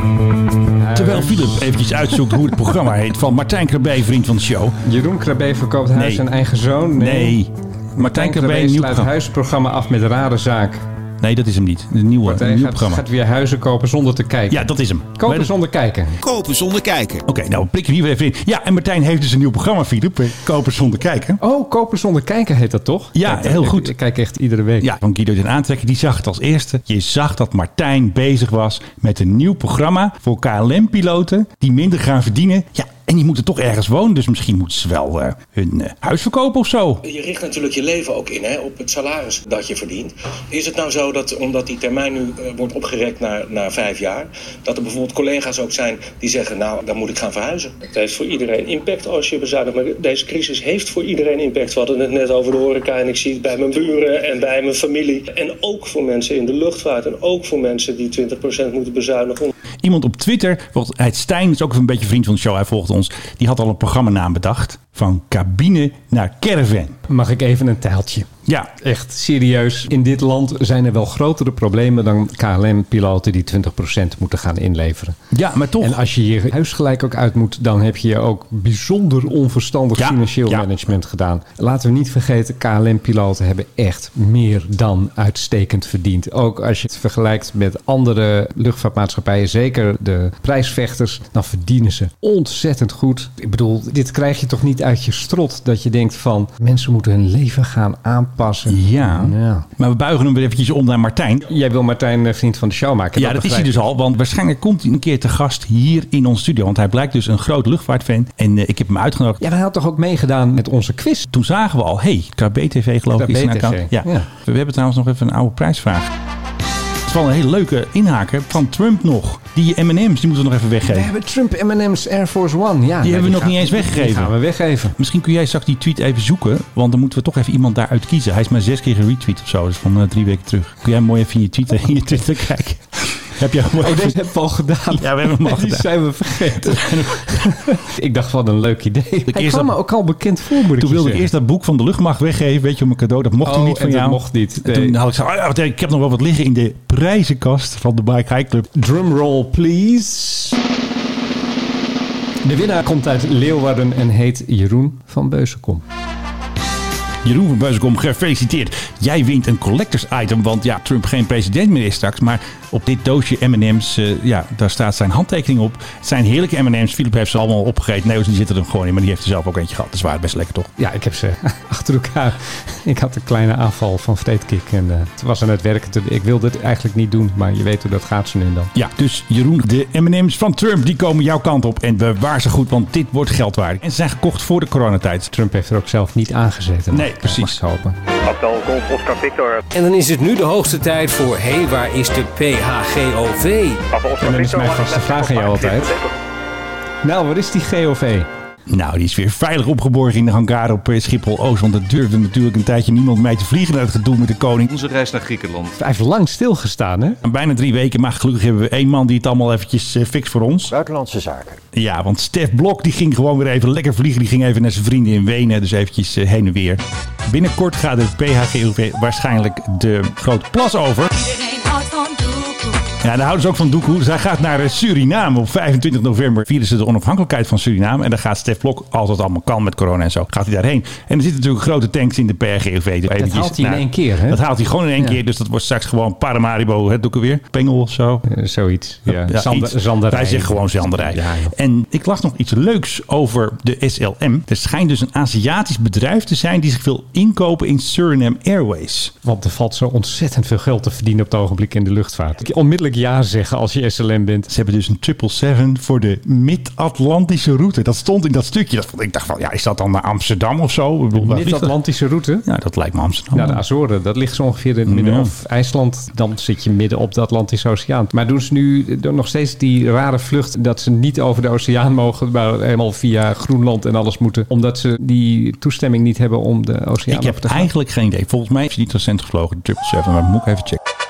Speaker 1: terwijl Philip eventjes uitzoekt hoe het programma heet van Martijn Krabbe, vriend van de show.
Speaker 2: Jeroen Krabbe verkoopt huis
Speaker 1: Nee.
Speaker 2: en eigen zoon.
Speaker 1: Nee, Martijn Krabbe,
Speaker 2: Krabbe
Speaker 1: een nieuw
Speaker 2: sluit
Speaker 1: programma.
Speaker 2: huisprogramma af met rare zaak.
Speaker 1: Nee, dat is hem niet. Een nieuwe, een
Speaker 2: Hij
Speaker 1: nieuw
Speaker 2: gaat,
Speaker 1: programma.
Speaker 2: gaat weer huizen kopen zonder te kijken.
Speaker 1: Ja, dat is hem. Weet
Speaker 2: Kopen
Speaker 1: je-
Speaker 2: zonder kijken.
Speaker 10: Kopen zonder kijken.
Speaker 1: Oké, nou, we prikken hier weer even in. Ja, en Martijn heeft dus een nieuw programma, Philip. Kopen zonder kijken.
Speaker 2: Oh, kopen zonder kijken heet dat toch?
Speaker 1: Ja,
Speaker 2: Kijk,
Speaker 1: heel
Speaker 2: ik-
Speaker 1: goed.
Speaker 2: Ik kijk echt iedere week.
Speaker 1: Ja, van Guido den Aantrekker, die zag het als eerste. Je zag dat Martijn bezig was met een nieuw programma voor KLM-piloten die minder gaan verdienen. Ja, en die moeten toch ergens wonen, dus misschien moeten ze wel eh, hun eh, huis verkopen of zo.
Speaker 11: Je richt natuurlijk je leven ook in hè, op het salaris dat je verdient. Is het nou zo dat, omdat die termijn nu eh, wordt opgerekt naar, naar vijf jaar, dat er bijvoorbeeld collega's ook zijn die zeggen: Nou, dan moet ik gaan verhuizen? Het heeft voor iedereen impact als je bezuinigt. Maar deze crisis heeft voor iedereen impact. We hadden het net over de horeca en ik zie het bij mijn buren en bij mijn familie. En ook voor mensen in de luchtvaart en ook voor mensen die 20% moeten bezuinigen. om-
Speaker 1: Iemand op Twitter, volgens Heid Stijn, is ook een beetje vriend van de show, hij volgt ons. Die had al een programmanaam bedacht. Van cabine naar caravan.
Speaker 2: Mag ik even een taaltje?
Speaker 1: Ja,
Speaker 2: Echt serieus. In dit land zijn er wel grotere problemen dan KLM-piloten die 20% moeten gaan inleveren.
Speaker 1: ja maar toch.
Speaker 2: En als je je huis gelijk ook uit moet, dan heb je je ook bijzonder onverstandig
Speaker 1: Ja,
Speaker 2: financieel
Speaker 1: ja.
Speaker 2: management gedaan. Laten we niet vergeten, KLM-piloten hebben echt meer dan uitstekend verdiend. Ook als je het vergelijkt met andere luchtvaartmaatschappijen, zeker de prijsvechters, dan verdienen ze ontzettend goed. Ik bedoel, dit krijg je toch niet uit je strot dat je denkt van mensen moeten hun leven gaan aanpassen.
Speaker 1: ja.
Speaker 2: Ja.
Speaker 1: maar we buigen hem weer eventjes om naar Martijn.
Speaker 2: Jij wil Martijn eh, vriend van de show maken.
Speaker 1: Ja, dat is hij
Speaker 2: begrijp ik.
Speaker 1: dus al, want waarschijnlijk komt hij een keer te gast hier in ons studio. Want hij blijkt dus een groot luchtvaartfan. En eh, ik heb hem uitgenodigd.
Speaker 2: Ja, maar hij had toch ook meegedaan met onze quiz?
Speaker 1: Toen zagen we al, hey, KBTV geloof ik. is
Speaker 2: KBTV,
Speaker 1: een account. Ja.
Speaker 2: ja.
Speaker 1: We hebben trouwens nog even een oude prijsvraag. Het is wel een hele leuke inhaker van Trump nog. Die M&M's, die moeten we nog even
Speaker 2: We
Speaker 1: weggeven.
Speaker 2: hebben Trump M&M's Air Force One. Ja,
Speaker 1: hebben we nog
Speaker 2: gaan-
Speaker 1: niet eens weggegeven.
Speaker 2: Die gaan we weggeven.
Speaker 1: Misschien kun jij straks die tweet even zoeken. Want dan moeten we toch even iemand daaruit kiezen. Hij is maar zes keer geretweet of zo. Dus van eh, drie weken terug. Kun jij mooi even in je, tweet, in je Twitter kijken. Heb jij mooi...
Speaker 2: Oh, deze hebben we al gedaan.
Speaker 1: Ja, we hebben hem al
Speaker 2: Die
Speaker 1: gedaan.
Speaker 2: zijn we vergeten. ik dacht, wat een leuk idee. Hij
Speaker 1: eerste-
Speaker 2: kwam me ook al bekend voor, moet
Speaker 1: Toen
Speaker 2: ik je
Speaker 1: wilde ik
Speaker 2: zeggen.
Speaker 1: eerst dat boek van de luchtmacht weggeven. Weet je, om een cadeau. Dat mocht hij
Speaker 2: Oh,
Speaker 1: niet van
Speaker 2: en dat
Speaker 1: jou.
Speaker 2: mocht niet.
Speaker 1: En Toen
Speaker 2: Nee.
Speaker 1: had ik zo, ah, wacht even, ik heb nog wel wat liggen in de prijzenkast van de Bike High Club.
Speaker 2: Drumroll, please. De winnaar komt uit Leeuwarden en heet Jeroen van Beuzenkom.
Speaker 1: Jeroen van Beuzenkom, gefeliciteerd. Jij wint een collectors item, want ja, Trump geen president meer is straks. Maar op dit doosje M&M's, eh, ja, daar staat zijn handtekening op. Het zijn heerlijke M&M's. Philip heeft ze allemaal opgegeten. Nee, dus die zitten er gewoon in, maar die heeft er zelf ook eentje gehad. Dat is waar, best lekker toch?
Speaker 2: Ja, ik heb ze achter elkaar. Ik had een kleine aanval van vreedkick en eh, het was aan het werken. Toen- Ik wilde het eigenlijk niet doen, maar je weet hoe dat gaat zo nu en dan.
Speaker 1: Ja, dus Jeroen, de M&M's van Trump, die komen jouw kant op. En bewaar ze goed, want dit wordt geld waard. En ze zijn gekocht voor de coronatijd.
Speaker 2: Trump heeft er ook zelf niet aangezeten. Nou,
Speaker 1: Nee,
Speaker 2: mag ik-
Speaker 1: precies.
Speaker 2: mag ik hopen.
Speaker 5: En dan is het nu de hoogste tijd voor Hé, waar is de PHGOV?
Speaker 2: En dan is mijn vaste vraag aan jou altijd. Nou, wat is die GOV?
Speaker 1: Nou, die is weer veilig opgeborgen in de hangar op eh, Schiphol-Oost. Want er durfde natuurlijk een tijdje niemand mee te vliegen naar het gedoe met de koning.
Speaker 9: Onze reis naar Griekenland.
Speaker 2: Hij heeft lang stilgestaan, hè?
Speaker 1: En Bijna drie weken, maar gelukkig hebben we één man die het allemaal eventjes eh, fixt voor ons. Buitenlandse zaken. Ja, want Stef Blok die ging gewoon weer even lekker vliegen. Die ging even naar zijn vrienden in Wenen, dus eventjes eh, heen en weer. Binnenkort gaat de PHGOV waarschijnlijk de grote plas over. Ja, daar houden ze ook van Doekoe. Dus hij gaat naar Suriname. Op 25 november vieren ze de onafhankelijkheid van Suriname. En daar gaat Stef Blok, als dat allemaal kan met corona en zo, gaat hij daarheen. En er zitten natuurlijk grote tanks in de PRGOV.
Speaker 2: Dat haalt hij in één keer, hè?
Speaker 1: Dat haalt hij gewoon in één
Speaker 2: Ja.
Speaker 1: keer. Dus dat wordt straks gewoon Paramaribo, hè, Doekoe weer. Pengel of zo.
Speaker 2: Eh, zoiets. Ja. Zander-
Speaker 1: iets.
Speaker 2: zanderij.
Speaker 1: Hij zegt gewoon zanderij.
Speaker 2: Ja, joh.
Speaker 1: En ik las nog iets leuks over de SLM. Er schijnt dus een Aziatisch bedrijf te zijn die zich wil inkopen in Suriname Airways.
Speaker 2: Want er valt zo ontzettend veel geld te verdienen op het ogenblik in de luchtvaart. Ik onmiddellijk ja zeggen als je SLM bent.
Speaker 1: Ze hebben dus een 777 voor de Mid-Atlantische route. Dat stond in dat stukje. Dat vond, ik dacht van, ja, is dat dan naar Amsterdam of zo? Ik bedoel, waar vliegt dat?
Speaker 2: Mid-Atlantische route.
Speaker 1: Ja, dat lijkt me Amsterdam.
Speaker 2: Naar de Azoren, dat ligt zo ongeveer in het midden.
Speaker 1: Ja.
Speaker 2: Of IJsland, dan zit je midden op de Atlantische Oceaan. Maar doen ze nu eh, nog steeds die rare vlucht dat ze niet over de oceaan mogen, maar helemaal via Groenland en alles moeten, omdat ze die toestemming niet hebben om de oceaan
Speaker 1: ik heb
Speaker 2: over te gaan?
Speaker 1: eigenlijk geen idee. Volgens mij is hij niet recent gevlogen, de 777, maar dat moet ik even checken.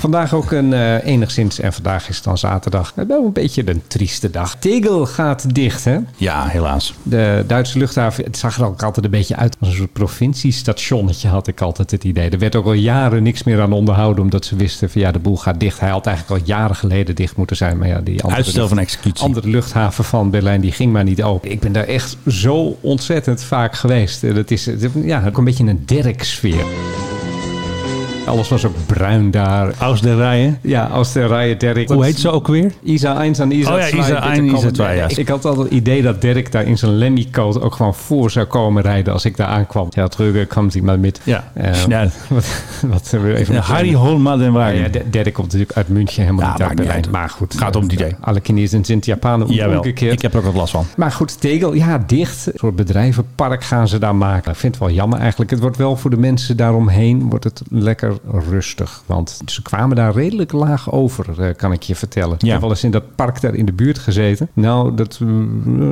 Speaker 2: Vandaag ook een eh, enigszins, en vandaag is het dan zaterdag, eh, wel een beetje een trieste dag. Tegel gaat dicht, hè?
Speaker 1: Ja, helaas.
Speaker 2: De Duitse luchthaven, het zag er ook altijd een beetje uit als een soort provinciestationnetje, had ik altijd het idee. Er werd ook al jaren niks meer aan onderhouden, omdat ze wisten van ja, de boel gaat dicht. Hij had eigenlijk al jaren geleden dicht moeten zijn, maar ja, die andere,
Speaker 1: Uitstel van executie.
Speaker 2: andere luchthaven van Berlijn, die ging maar niet open. Ik ben daar echt zo ontzettend vaak geweest. Eh, Dat is eh, ja, ook een beetje een Derek-sfeer. Alles was ook bruin daar.
Speaker 1: Aus der Rijen.
Speaker 2: Ja, als de rijen Derek.
Speaker 1: Hoe heet ze ook weer?
Speaker 2: Isa 1 en Isa
Speaker 1: Oh ja,
Speaker 2: 2.
Speaker 1: Isa
Speaker 2: bitte
Speaker 1: 1, Isa
Speaker 2: komen.
Speaker 1: 2, ja.
Speaker 2: Ik, ik had altijd het idee dat Dirk daar in zijn Lemmy-coat ook gewoon voor zou komen rijden als ik daar aankwam. Ja, terug kwam hij maar met.
Speaker 1: Ja,
Speaker 2: Eh,
Speaker 1: snel.
Speaker 2: Wat, wat we even
Speaker 1: Ja,
Speaker 2: moeten-
Speaker 1: Eh, Harry Holma den
Speaker 2: Ja,
Speaker 1: Wagen.
Speaker 2: ja, D- Dirk komt natuurlijk uit München, helemaal
Speaker 1: Ja,
Speaker 2: niet uit
Speaker 1: maakt niet
Speaker 2: Berlijn.
Speaker 1: uit.
Speaker 2: Maar goed. eh,
Speaker 1: Gaat om het idee.
Speaker 2: Alle Chinezen zijn Japanen
Speaker 1: Jawel,
Speaker 2: omgekeerd.
Speaker 1: ik heb er ook wat last van.
Speaker 2: Maar goed, Tegel, ja, dicht. Een soort bedrijvenpark gaan ze daar maken. Ik vind het wel jammer eigenlijk. Het wordt wel voor de mensen daaromheen wordt het lekker rustig. Want ze kwamen daar redelijk laag over, eh, kan ik je vertellen. Ik heb wel eens in dat park daar in de buurt gezeten. Nou, dat eh,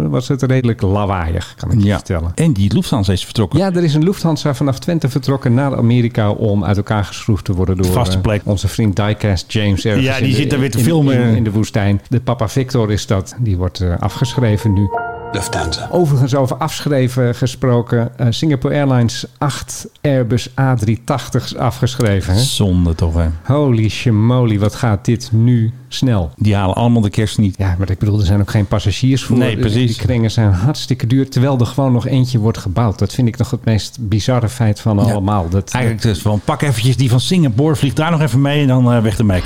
Speaker 2: was het redelijk lawaaiig, kan ik je
Speaker 1: Ja.
Speaker 2: vertellen.
Speaker 1: En die Lufthansa is vertrokken.
Speaker 2: Ja, er is een Lufthansa vanaf Twente vertrokken naar Amerika om uit elkaar geschroefd te worden door
Speaker 1: Vaste
Speaker 2: eh,
Speaker 1: plek.
Speaker 2: onze vriend Diecast James. ergens
Speaker 1: Ja, die
Speaker 2: in de-
Speaker 1: zit daar weer te
Speaker 2: in-
Speaker 1: filmen.
Speaker 2: In, in de woestijn. De Papa Victor is dat. Die wordt eh, afgeschreven nu. Lufthansa. Overigens over afschreven gesproken. eh, Singapore Airlines 8 Airbus A380's afgeschreven. Hè?
Speaker 1: Zonde toch, hè?
Speaker 2: Holy shimoli, wat gaat dit nu snel?
Speaker 1: Die halen allemaal de kerst niet.
Speaker 2: Ja, maar ik bedoel, er zijn ook geen passagiers voor. Eh,
Speaker 1: Nee, precies.
Speaker 2: Die kringen zijn hartstikke duur, terwijl er gewoon nog eentje wordt gebouwd. Dat vind ik nog het meest bizarre feit van allemaal. Dat,
Speaker 1: Eigenlijk dus van pak eventjes die van Singapore, vlieg daar nog even mee en dan eh, weg ermee.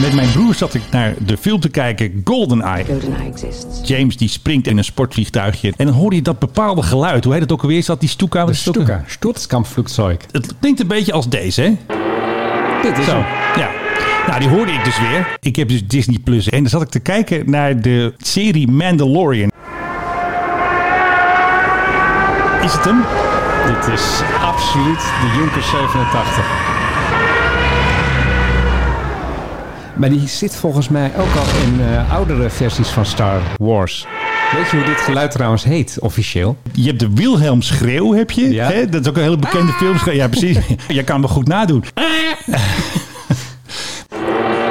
Speaker 1: Met mijn broer zat ik naar de film te kijken GoldenEye. James die springt in een sportvliegtuigje. En dan hoor je dat bepaalde geluid. Hoe heet het ook alweer? Is dat die stoeka? Wat
Speaker 2: Oh, de
Speaker 1: is het ook-
Speaker 2: Stuka, Sturzkampfvliegzeug.
Speaker 1: Het klinkt een beetje als deze, hè?
Speaker 2: Dit is
Speaker 1: Zo,
Speaker 2: hem.
Speaker 1: ja. Nou, die hoorde ik dus weer. Ik heb dus Disney Plus. En dan zat ik te kijken naar de serie Mandalorian. Is het hem?
Speaker 2: Dit is absoluut de Junker 87. Maar die zit volgens mij ook al in eh, oudere versies van Star Wars. Weet je hoe dit geluid trouwens heet, officieel?
Speaker 1: Je hebt de Wilhelm schreeuw, heb je.
Speaker 2: Ja. Ah!
Speaker 1: Hè? Dat is ook een hele bekende filmschreeuw. Ja, precies. Jij kan me goed nadoen.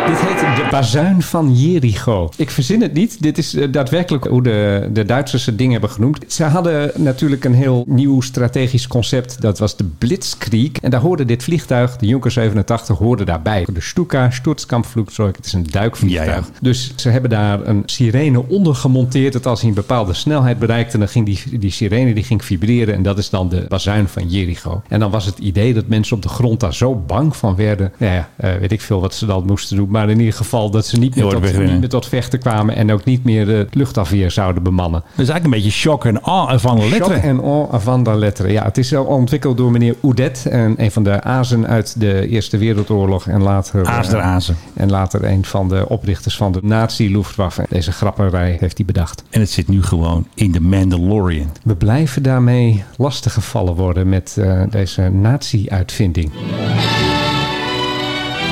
Speaker 2: Dit heet de bazuin van Jericho. Ik verzin het niet. Dit is eh, daadwerkelijk hoe de, de Duitsers het ding hebben genoemd. Ze hadden natuurlijk een heel nieuw strategisch concept. Dat was de Blitzkrieg. En daar hoorde dit vliegtuig, de Junker 87, hoorde daarbij. De Stuka, Sturzkampfvliegzeug. Het is een duikvliegtuig.
Speaker 1: Ja, ja.
Speaker 2: Dus ze hebben daar een sirene onder gemonteerd. Dat als hij een bepaalde snelheid bereikte, dan ging die, die sirene die ging vibreren. En dat is dan de bazuin van Jericho. En dan was het idee dat mensen op de grond daar zo bang van werden. Nou ja, eh, weet ik veel wat ze dan moesten doen. Maar in ieder geval dat ze niet
Speaker 1: Heel
Speaker 2: meer,
Speaker 1: hard
Speaker 2: tot,
Speaker 1: wegrennen.
Speaker 2: niet meer tot vechten kwamen. En ook niet meer de luchtafweer zouden bemannen.
Speaker 1: Dat is eigenlijk een beetje shock en awe van de letteren.
Speaker 2: Shock en on avant de letteren. Ja, het is wel ontwikkeld door meneer Oudet. En een van de azen uit de Eerste Wereldoorlog. En later,
Speaker 1: Aas der
Speaker 2: eh,
Speaker 1: azen.
Speaker 2: en later een van de oprichters van de Nazi-Luftwaffe. Deze grapperij heeft hij bedacht.
Speaker 1: En het zit nu gewoon in de Mandalorian.
Speaker 2: We blijven daarmee lastiggevallen worden met eh, deze Nazi-uitvinding.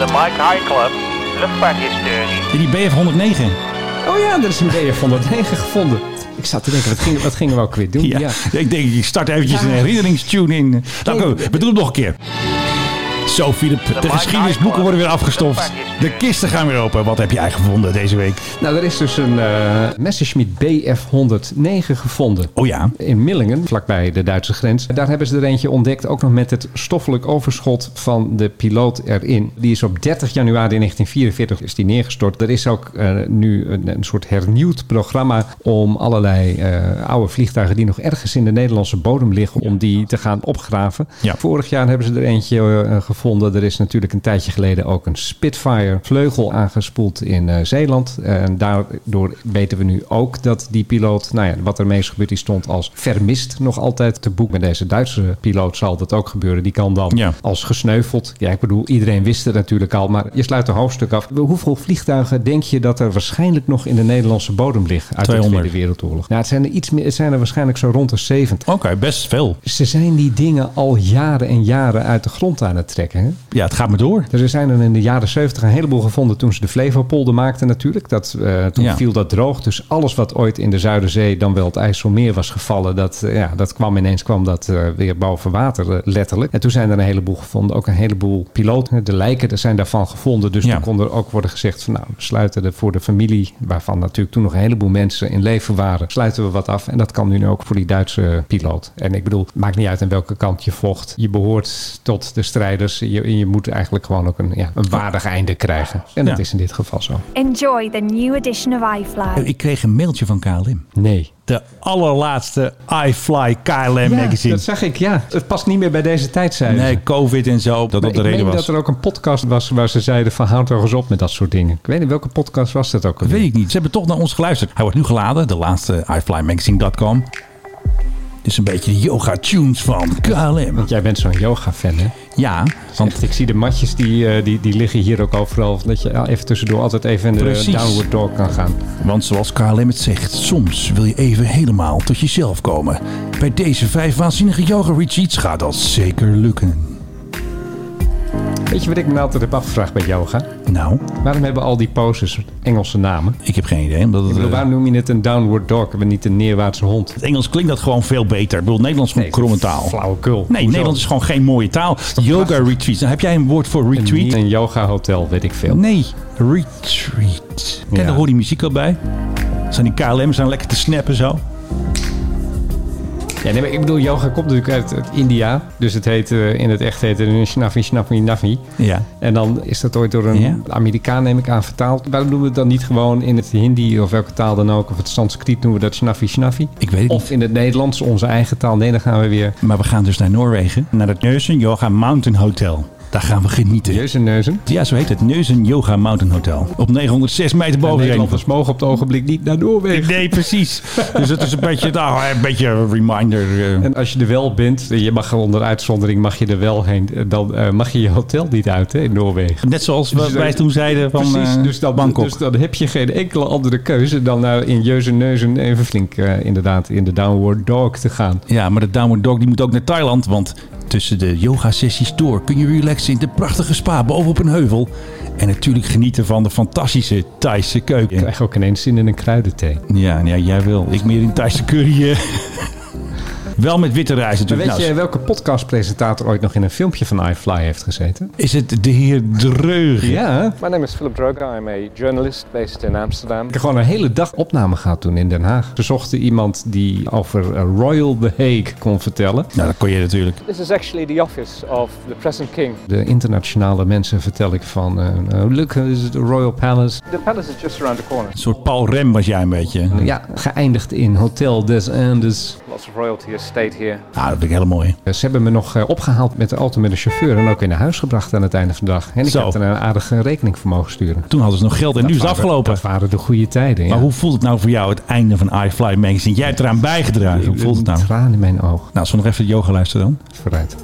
Speaker 10: De Mike High Club, luchtvaarthistorie.
Speaker 1: En die BF-109.
Speaker 2: Oh ja, er is een BF-109 gevonden. Ik zat te denken, wat gingen, wat gingen we ook weer doen?
Speaker 1: Ja.
Speaker 2: Ja.
Speaker 1: Ik denk, ik start eventjes een herinneringstune in. Dank u. We doen hem nog een keer. Zo, Zo, Philip, de geschiedenisboeken worden weer afgestoft. De kisten gaan weer open. Wat heb jij gevonden deze week?
Speaker 2: Nou, er is dus een eh Messerschmitt BF-109 gevonden.
Speaker 1: Oh ja.
Speaker 2: In Millingen, vlakbij de Duitse grens. Daar hebben ze er eentje ontdekt, ook nog met het stoffelijk overschot van de piloot erin. Die is op 30 januari 1944 is die neergestort. Er is ook eh, nu een, een soort hernieuwd programma om allerlei eh, oude vliegtuigen die nog ergens in de Nederlandse bodem liggen, om die te gaan opgraven.
Speaker 1: Ja.
Speaker 2: Vorig jaar hebben ze er eentje eh, gevonden. Er is natuurlijk een tijdje geleden ook een Spitfire vleugel aangespoeld in eh, Zeeland. En daardoor weten we nu ook dat die piloot, nou ja, wat ermee is gebeurd, die stond als vermist nog altijd te boek. Met deze Duitse piloot zal dat ook gebeuren. Die kan dan
Speaker 1: Ja.
Speaker 2: als gesneuveld. Ja, ik bedoel, iedereen wist het natuurlijk al, maar je sluit een hoofdstuk af. Hoeveel vliegtuigen denk je dat er waarschijnlijk nog in de Nederlandse bodem liggen uit de
Speaker 1: 200.
Speaker 2: Tweede Wereldoorlog? Nou, het zijn er, iets meer, het zijn er waarschijnlijk zo rond de 70.
Speaker 1: Oké, best veel.
Speaker 2: Ze zijn die dingen al jaren en jaren uit de grond aan het trekken. Hè?
Speaker 1: Ja, het gaat me door.
Speaker 2: Er zijn er in de jaren 70 een heleboel gevonden toen ze de Flevopolder maakten natuurlijk. Dat, eh, toen
Speaker 1: Ja.
Speaker 2: viel dat droog. Dus alles wat ooit in de Zuiderzee dan wel het IJsselmeer was gevallen... dat, eh, ja, dat kwam ineens kwam dat, eh, weer boven water eh, letterlijk. En toen zijn er een heleboel gevonden. Ook een heleboel piloten. De lijken er zijn daarvan gevonden. Dus
Speaker 1: Ja.
Speaker 2: toen kon er ook worden gezegd van... nou, we sluiten er voor de familie... waarvan natuurlijk toen nog een heleboel mensen in leven waren... sluiten we wat af. En dat kan nu ook voor die Duitse piloot. En ik bedoel, maakt niet uit aan welke kant je vocht. Je behoort tot de strijders. Je, en je moet eigenlijk gewoon ook een, ja, een waardig einde krijgen. En dat
Speaker 1: Ja.
Speaker 2: is in dit geval zo.
Speaker 12: Enjoy the new edition of iFly.
Speaker 1: Eh, Ik kreeg een mailtje van KLM.
Speaker 2: Nee.
Speaker 1: De allerlaatste iFly KLM magazine.
Speaker 2: dat zag ik, ja. Het past niet meer bij deze tijd, zei ze.
Speaker 1: Nee, COVID en zo, dat dat
Speaker 2: Maar
Speaker 1: de
Speaker 2: ik
Speaker 1: reden
Speaker 2: meen
Speaker 1: was.
Speaker 2: dat er ook een podcast was waar ze zeiden van houd toch eens op met dat soort dingen. Ik weet niet welke podcast was dat ook. alweer?
Speaker 1: Weet ik niet. Ze hebben toch naar ons geluisterd. Hij wordt nu geladen, de laatste iFlyMagazine.com. Is een beetje de yoga tunes van KLM.
Speaker 2: Want jij bent zo'n yoga-fan, hè?
Speaker 1: Ja, want
Speaker 2: Want ik zie de matjes die, eh, die, die liggen hier ook overal. Dat je even tussendoor altijd even in de
Speaker 1: Precies.
Speaker 2: downward dog kan gaan.
Speaker 1: Want zoals KLM het zegt, soms wil je even helemaal tot jezelf komen. Bij deze vijf waanzinnige yoga retreats gaat dat zeker lukken.
Speaker 2: Weet je wat ik me altijd heb afgevraagd bij yoga?
Speaker 1: Nou,
Speaker 2: Waarom hebben al die poses Engelse namen?
Speaker 1: ik heb geen idee. Omdat het,
Speaker 2: Ik bedoel,
Speaker 1: eh,
Speaker 2: waarom noem je het een downward dog en niet een neerwaartse hond?
Speaker 1: het Engels klinkt dat gewoon veel beter. Ik bedoel, Nederlands is gewoon kromme taal.
Speaker 2: Flauwekul.
Speaker 1: Nee,
Speaker 2: Hoezo?
Speaker 1: Nederlands is gewoon geen mooie taal. Yoga retreats. Nou, heb jij een woord voor
Speaker 2: Een-
Speaker 1: retreat?
Speaker 2: Een yoga hotel, weet ik veel.
Speaker 1: Nee, retreat. Kijk,
Speaker 2: Ja.
Speaker 1: daar hoor die muziek al bij. Zijn die KLM's zijn lekker te snappen zo.
Speaker 2: Ja, nee, maar ik bedoel, yoga komt natuurlijk uit, uit India. Dus het heet, eh, in het echt heet het een snaffy, snaffy, naffy.
Speaker 1: Ja.
Speaker 2: En dan is dat ooit door een
Speaker 1: Ja.
Speaker 2: Amerikaan, neem ik aan, vertaald. Waarom doen we het dan niet gewoon in het Hindi of welke taal dan ook? Of het Sanskriet noemen we dat snaffy, snaffy?
Speaker 1: Ik weet het
Speaker 2: Of in het Nederlands, onze eigen taal. Nee, dan gaan we weer
Speaker 1: Maar we gaan dus naar Noorwegen. Naar het Neusen Yoga Mountain Hotel. Daar gaan we genieten.
Speaker 2: jeuzen neuzen.
Speaker 1: Ja, zo heet het. Neusen Yoga Mountain Hotel. Op 906 meter
Speaker 2: En
Speaker 1: boven zee.
Speaker 2: Nederlanders mogen op het ogenblik niet naar Noorwegen.
Speaker 1: Nee, precies. dus het is een beetje, nou, een beetje een reminder. eh.
Speaker 2: En als je er wel bent, je mag onder uitzondering mag je er wel heen, dan eh, mag je je hotel niet uit hè, in Noorwegen.
Speaker 1: Net zoals wat
Speaker 2: Dus, eh,
Speaker 1: wij toen zeiden van
Speaker 2: Precies,
Speaker 1: eh,
Speaker 2: dus dan,
Speaker 1: Bangkok.
Speaker 2: dus dan heb je geen enkele andere keuze dan naar in jeuzen neuzen even flink eh, inderdaad in de downward dog te gaan.
Speaker 1: Ja, maar de Downward Dog die moet ook naar Thailand. Want tussen de yoga-sessies door kun je relaxen in de prachtige spa bovenop een heuvel. En natuurlijk genieten van de fantastische Thaise
Speaker 2: Ik
Speaker 1: keuken.
Speaker 2: krijg ook ineens zin in een kruidenthee.
Speaker 1: Ja, ja jij wil. Ik meer in Thaise curry. eh. Wel met witte rijst
Speaker 2: Maar
Speaker 1: natuurlijk.
Speaker 2: weet
Speaker 1: Nou,
Speaker 2: je welke podcastpresentator ooit nog in een filmpje van iFly heeft gezeten?
Speaker 1: is het de heer Dreug?
Speaker 2: Ja.
Speaker 13: My name is Philip Droga. I'm a journalist based in Amsterdam.
Speaker 2: Ik heb gewoon een hele dag opname gehad toen in Den Haag. Ze zochten iemand die over eh, Royal The Hague kon vertellen.
Speaker 1: Nou, dat kon je natuurlijk.
Speaker 13: This is actually the office of the present king.
Speaker 2: De internationale mensen vertel ik van, eh eh, look, this is the Royal Palace.
Speaker 13: The palace is just around the corner.
Speaker 1: Een soort Paul Rem was jij een beetje.
Speaker 2: Ja, geëindigd in Hotel des Andes.
Speaker 13: Lots of royalty estate here.
Speaker 1: Nou, dat vind ik heel mooi.
Speaker 2: Eh, Ze hebben me nog eh, opgehaald met de auto met de chauffeur en ook weer naar huis gebracht aan het einde van de dag. En ik
Speaker 1: Zo.
Speaker 2: heb er een aardige rekening voor mogen sturen.
Speaker 1: Toen hadden ze nog geld en nu is het
Speaker 2: waren-
Speaker 1: afgelopen.
Speaker 2: Dat waren de goede tijden.
Speaker 1: Maar
Speaker 2: ja.
Speaker 1: hoe voelt het nou voor jou het einde van iFly Magazine? Jij hebt eraan bijgedragen. Hoe voelt het nou?
Speaker 2: Een traan in mijn oog.
Speaker 1: Nou, zullen we nog even yoga luisteren dan?
Speaker 2: Vooruit.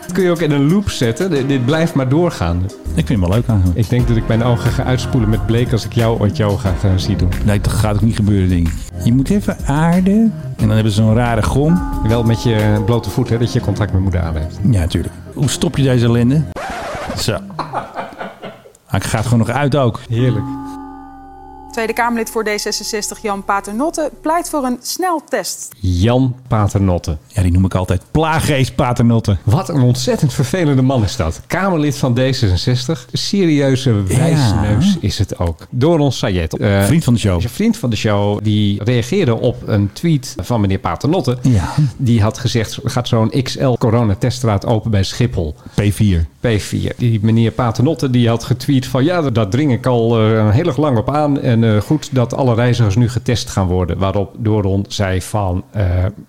Speaker 2: Dat kun je ook in een loop zetten. Dit, dit blijft maar doorgaan.
Speaker 1: Ik vind hem wel leuk eigenlijk.
Speaker 2: Ik denk dat ik mijn ogen ga uitspoelen met bleek als ik jou ooit yoga ga zien doen.
Speaker 1: Nee, dat gaat ook niet gebeuren, denk ik. Je moet even aarden. En dan hebben ze zo'n rare gom.
Speaker 2: Wel met je blote voet, hè, dat je contact met moeder aan heeft.
Speaker 1: Ja, natuurlijk. Hoe stop je deze ellende? Zo. Ah, Ik ga het gewoon nog uit ook.
Speaker 2: Heerlijk.
Speaker 14: Tweede Kamerlid voor D66 Jan Paternotte pleit voor een sneltest.
Speaker 2: Jan Paternotte.
Speaker 1: Ja, die noem ik altijd plaaggeest Paternotte.
Speaker 2: Wat een ontzettend vervelende man is dat. Kamerlid van D66. Serieuze wijsneus is het ook. Doron Sayed. eh,
Speaker 1: Vriend van de show.
Speaker 2: is een vriend van de show. Die reageerde op een tweet van meneer Paternotte.
Speaker 1: Ja.
Speaker 2: Die had gezegd, er gaat zo'n XL coronateststraat open bij Schiphol.
Speaker 1: P4.
Speaker 2: P4. Die meneer Paternotte die had getweet van ja, daar dring ik al eh, heel erg lang op aan. En eh, goed dat alle reizigers nu getest gaan worden. Waarop Doron zei van eh,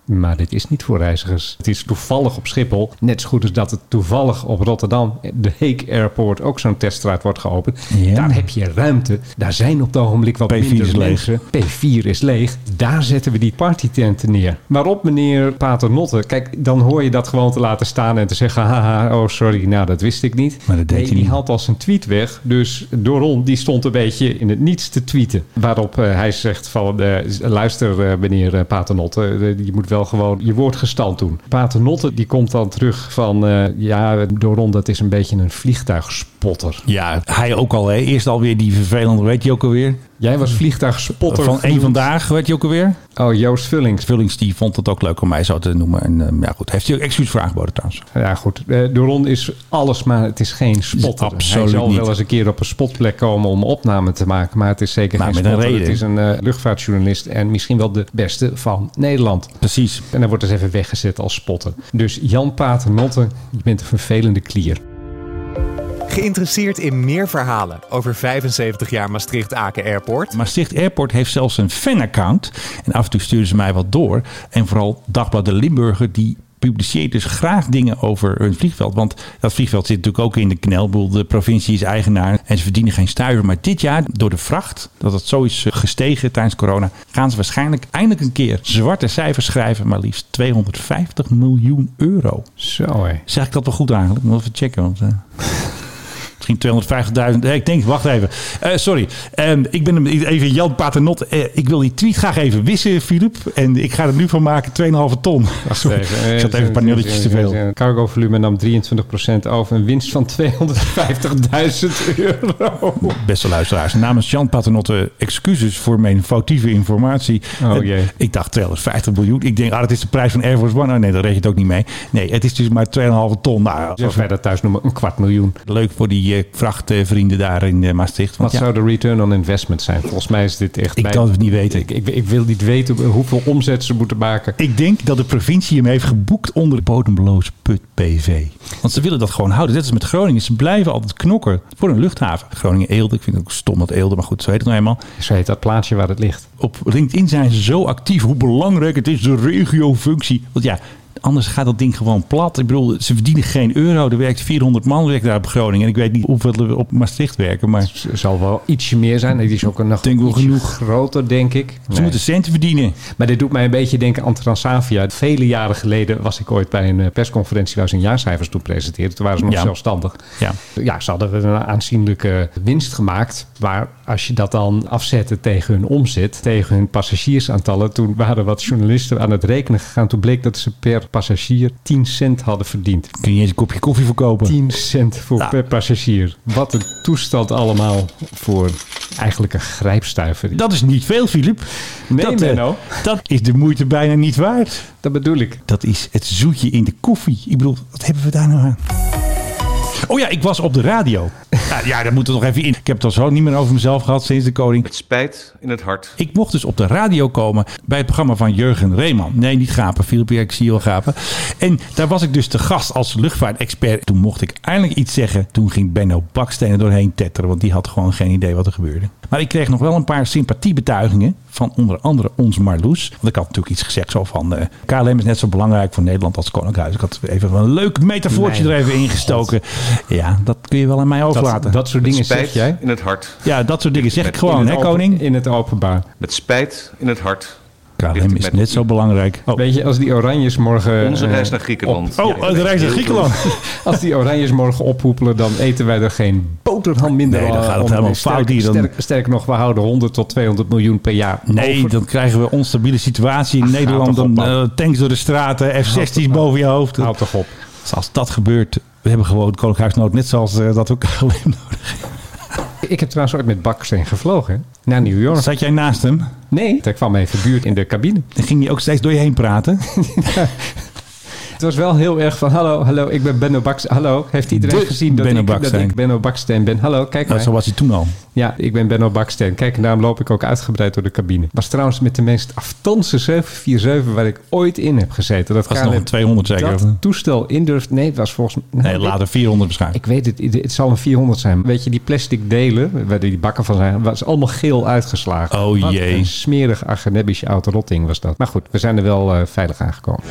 Speaker 2: maar dit is niet voor reizigers. Het is toevallig op Schiphol. Net zo goed als dat het toevallig op Rotterdam, de Heek Airport, ook zo'n teststraat wordt geopend.
Speaker 1: Ja.
Speaker 2: Daar heb je ruimte. Daar zijn op het ogenblik wat
Speaker 1: P4
Speaker 2: minder
Speaker 1: is leeg.
Speaker 2: mensen. P4 is leeg. Daar zetten we die partytenten neer. Waarop meneer Paternotte, kijk, dan hoor je dat gewoon te laten staan en te zeggen, haha, oh sorry, nou dat wist ik niet.
Speaker 1: Maar dat deed
Speaker 2: nee,
Speaker 1: hij
Speaker 2: die
Speaker 1: niet.
Speaker 2: haalt als een tweet weg. Dus Doron, die stond een beetje in het niets te tweeten. Waarop eh, hij zegt van, eh, luister eh, meneer eh, Paternotte, eh, je moet wel gewoon je woord gestand doen. Paternotte, die komt dan terug van, eh, ja, Doron, dat is een beetje een vliegtuigspotter.
Speaker 1: Ja, hij ook al. Hè. Eerst alweer die vervelende, weet je ook alweer.
Speaker 2: Jij was vliegtuigspotter
Speaker 1: Van één
Speaker 2: genoemd.
Speaker 1: vandaag, weet je ook alweer.
Speaker 2: Oh, Joost Vullings.
Speaker 1: Vullings die vond het ook leuk om mij zo te noemen. En eh, ja, goed. Heeft hij ook excuus voor aangeboden trouwens?
Speaker 2: Ja, goed. Eh, Doron is alles, maar het is geen spotter.
Speaker 1: Absoluut
Speaker 2: Hij zal
Speaker 1: niet.
Speaker 2: wel eens een keer op een spotplek komen om opname te maken. Maar het is zeker
Speaker 1: Maar
Speaker 2: geen
Speaker 1: met een
Speaker 2: spotter.
Speaker 1: reden.
Speaker 2: Het is een eh, luchtvaartjournalist en misschien wel de beste van Nederland.
Speaker 1: Precies.
Speaker 2: En dan wordt dus even weggezet als spotter. Dus Jan Paternotte, je bent een vervelende klier.
Speaker 15: Geïnteresseerd in meer verhalen over 75 jaar Maastricht-Aken Airport?
Speaker 1: Maastricht Airport heeft zelfs een fanaccount. En af en toe sturen ze mij wat door. En vooral Dagblad de Limburger die publiceert dus graag dingen over hun vliegveld. Want dat vliegveld zit natuurlijk ook in de knel. Ik bedoel, De provincie is eigenaar en ze verdienen geen stuiver. Maar dit jaar, door de vracht, dat het zo is eh, gestegen tijdens corona... gaan ze waarschijnlijk eindelijk een keer zwarte cijfers schrijven. Maar liefst 250 miljoen euro.
Speaker 2: Zo hé.
Speaker 1: Zeg ik dat wel goed eigenlijk? Moet even checken. Want, eh, misschien 250.000. Eh, ik denk, wacht even. Eh, sorry. Ehm, ik ben hem even Jan Paternot. Eh, ik wil die tweet graag even wissen, Filip. En ik ga er nu van maken 2,5 ton. Sorry.
Speaker 2: eh,
Speaker 1: Ik zat even een paar nulletjes te veel.
Speaker 2: eh, Cargo volume nam 23% over. Een winst van 250.000 euro.
Speaker 1: Beste luisteraars, namens Jan Paternotte excuses voor mijn foutieve informatie.
Speaker 2: Oh,
Speaker 1: Eh,
Speaker 2: jee.
Speaker 1: Ik dacht 250 miljoen. Ik denk, ah, dat is de prijs van Air Force One. Oh, nee, daar reken je het ook niet mee. Nee, het is dus maar 2,5 ton. Nou,
Speaker 2: Zoals wij dat thuis noemen, een kwart miljoen.
Speaker 1: leuk voor die eh, vrachtvrienden daar in eh, Maastricht.
Speaker 2: Wat
Speaker 1: Want ja,
Speaker 2: zou de return on investment zijn? Volgens mij is dit echt...
Speaker 1: ik
Speaker 2: bij-
Speaker 1: kan het niet weten.
Speaker 2: Ik, ik, ik wil niet weten hoeveel omzet ze moeten maken.
Speaker 1: Ik denk dat de provincie hem heeft geboekt onder de bodemloos put PV. Want ze willen dat gewoon houden. Net als met Groningen. Ze blijven altijd knokken voor een luchthaven. Groningen-Eelde. Ik vind het ook stom dat Eelde, maar goed, zo heet het nou eenmaal.
Speaker 2: Zo heet dat plaatsje waar het ligt.
Speaker 1: Op LinkedIn zijn ze zo actief hoe belangrijk het is, de regiofunctie. Want ja, anders gaat dat ding gewoon plat. Ik bedoel, ze verdienen geen euro. Er werkt 400 man werkt daar op Groningen. En ik weet niet hoeveel er op Maastricht werken, maar ze
Speaker 2: Er zal wel ietsje meer zijn. Het is ook een nog
Speaker 1: Denk wel
Speaker 2: ietsje
Speaker 1: genoeg.
Speaker 2: groter, denk ik. Nee.
Speaker 1: moeten centen verdienen.
Speaker 2: Maar dit doet mij een beetje denken aan Transavia. Vele jaren geleden was ik ooit bij een eh, persconferentie waar ze hun jaarcijfers toen presenteerden. Toen waren ze nog
Speaker 1: Ja.
Speaker 2: zelfstandig.
Speaker 1: Ja.
Speaker 2: Ja, ze hadden een aanzienlijke winst gemaakt. Maar als je dat dan afzette tegen hun omzet, tegen hun passagiersaantallen. Toen waren wat journalisten aan het rekenen gegaan. Toen bleek dat ze per passagier 10 cent hadden verdiend.
Speaker 1: Kun je niet eens een kopje koffie verkopen?
Speaker 2: 10 cent voor
Speaker 1: Nou.
Speaker 2: per passagier. Wat een toestand allemaal voor eigenlijk een grijpstuiver.
Speaker 1: Dat is niet veel, Filip.
Speaker 2: Nee,
Speaker 1: dat, eh,
Speaker 2: Menno.
Speaker 1: dat is de moeite bijna niet waard.
Speaker 2: Dat bedoel ik.
Speaker 1: Dat is het zoetje in de koffie. Ik bedoel, wat hebben we daar nou aan? Oh ja, ik was op de radio. Ja, ja daar moeten we nog even in. Ik heb het al zo niet meer over mezelf gehad sinds de koning.
Speaker 9: Het spijt in het hart.
Speaker 1: Ik mocht dus op de radio komen bij het programma van Jurgen Reeman. Nee, niet gapen, Filip, ja, ik zie je al gapen. En daar was ik dus te gast als luchtvaartexpert. Toen mocht ik eindelijk iets zeggen. Toen ging Benno Baksteen er doorheen tetteren, want die had gewoon geen idee wat er gebeurde. Maar ik kreeg nog wel een paar sympathiebetuigingen van onder andere ons Marloes. Want ik had natuurlijk iets gezegd zo van... eh, KLM is net zo belangrijk voor Nederland als Koninklijk Huis. Ik had even een leuk metafoortje
Speaker 2: Mijn
Speaker 1: er even ingestoken. Ja, dat kun je wel aan mij
Speaker 2: Dat,
Speaker 1: overlaten.
Speaker 2: dat soort dingen
Speaker 9: het spijt
Speaker 2: zeg jij. Oh,
Speaker 9: in het hart.
Speaker 1: ja, dat soort dingen zeg ik
Speaker 9: In
Speaker 1: gewoon,
Speaker 2: het
Speaker 1: hè
Speaker 2: open-
Speaker 1: koning?
Speaker 2: In het openbaar.
Speaker 9: Het spijt in het hart.
Speaker 1: KLM is net zo belangrijk. Oh.
Speaker 2: Weet je, als die oranjes morgen...
Speaker 9: Onze
Speaker 2: eh,
Speaker 9: reis naar Griekenland.
Speaker 1: Oh, oh, de reis naar Griekenland.
Speaker 2: Als die oranjes morgen ophoepelen, dan eten wij er geen boterham minder
Speaker 1: Nee, dan
Speaker 2: aan
Speaker 1: gaat het
Speaker 2: om.
Speaker 1: helemaal
Speaker 2: Sterk-
Speaker 1: fout hier dan.
Speaker 2: Sterk, sterker nog, we houden 100 tot 200 miljoen per jaar
Speaker 1: Nee,
Speaker 2: over.
Speaker 1: dan krijgen we een onstabiele situatie in Nederland.
Speaker 2: toch op,
Speaker 1: Dan
Speaker 2: man.
Speaker 1: eh, tanks door de straten, F-16's boven je hoofd.
Speaker 2: Houd toch op.
Speaker 1: Dus als dat gebeurt, we hebben gewoon het Koninklijk Huis nodig. Net zoals eh, dat ook alleen nodig.
Speaker 2: Ik heb trouwens ooit met Baksteen gevlogen hè, naar New York.
Speaker 1: Zat jij naast hem?
Speaker 2: Nee, hij kwam even buurt in de cabine.
Speaker 1: En ging hij ook steeds door je heen praten?
Speaker 2: Het was wel heel erg van, hallo, hallo, ik ben Benno Baksteen. Hallo, heeft iedereen
Speaker 1: De
Speaker 2: gezien dat,
Speaker 1: Benno
Speaker 2: ik, dat
Speaker 1: Baksteen.
Speaker 2: ik Benno Baksteen ben? Hallo, kijk
Speaker 1: Nou,
Speaker 2: maar.
Speaker 1: zo was hij toen al.
Speaker 2: Ja, ik ben Benno Baksteen. Kijk, en daarom loop ik ook uitgebreid door de cabine. Was trouwens met de meest aftanse 747 waar ik ooit in heb gezeten. Dat
Speaker 1: Was
Speaker 2: KLM
Speaker 1: nog een 200 zeker,
Speaker 2: Dat
Speaker 1: of niet?
Speaker 2: toestel indurft. Nee, het was volgens mij.
Speaker 1: Nee, later 400 waarschijnlijk.
Speaker 2: Ik weet het, het zal een 400 zijn. Weet je, die plastic delen, waar die bakken van zijn, was allemaal geel uitgeslagen.
Speaker 1: Oh
Speaker 2: Wat
Speaker 1: jee.
Speaker 2: Een smerig agnebisch oud rotting was dat. Maar goed, we zijn er wel eh, veilig aangekomen.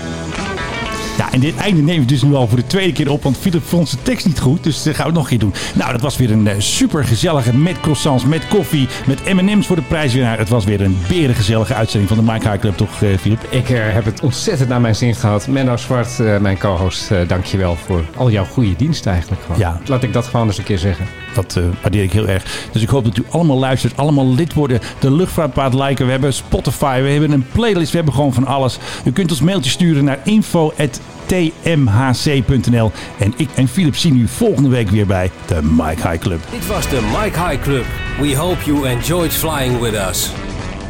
Speaker 1: Ja, en dit einde nemen we dus nu al voor de tweede keer op, want Philip vond zijn tekst niet goed, dus dat gaan we het nog een keer doen. Nou, dat was weer een super gezellige met croissants, met koffie, met M&M's voor de prijswinnaar. Het was weer een berengezellige uitzending van de Mike High Club, toch eh, Philip?
Speaker 2: Ik eh, heb het ontzettend naar mijn zin gehad. Menno Zwart, eh, mijn co-host, eh, dankjewel voor al jouw goede dienst eigenlijk. Gewoon.
Speaker 1: Ja.
Speaker 2: Laat ik dat gewoon eens een keer zeggen.
Speaker 1: Dat eh, waardeer ik heel erg. Dus ik hoop dat u allemaal luistert, allemaal lid worden, de luchtvaartpaard liken. We hebben Spotify, we hebben een playlist, we hebben gewoon van alles. U kunt ons mailtje sturen naar info.tmhc.nl En ik en Philip zien u volgende week weer bij de Mike High Club.
Speaker 5: Dit was de Mike High Club. We hope you enjoyed flying with us.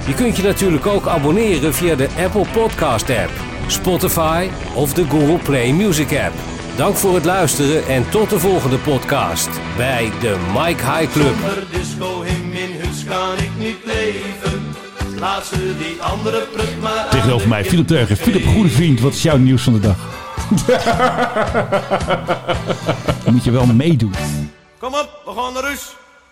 Speaker 5: Je kunt je natuurlijk ook abonneren via de Apple Podcast app, Spotify of de Google Play Music app. Dank voor het luisteren en tot de volgende podcast bij de Mike High Club.
Speaker 10: Zonder disco him in huts kan ik niet leven. Laat ze die andere prut maar aan
Speaker 1: Tegenover
Speaker 10: de
Speaker 1: mij,
Speaker 10: kip
Speaker 1: Philip Teugen. Philip,
Speaker 10: geven.
Speaker 1: goede vriend, wat is jouw nieuws van de dag? Dan moet je wel meedoen.
Speaker 10: Kom op, we gaan naar huis.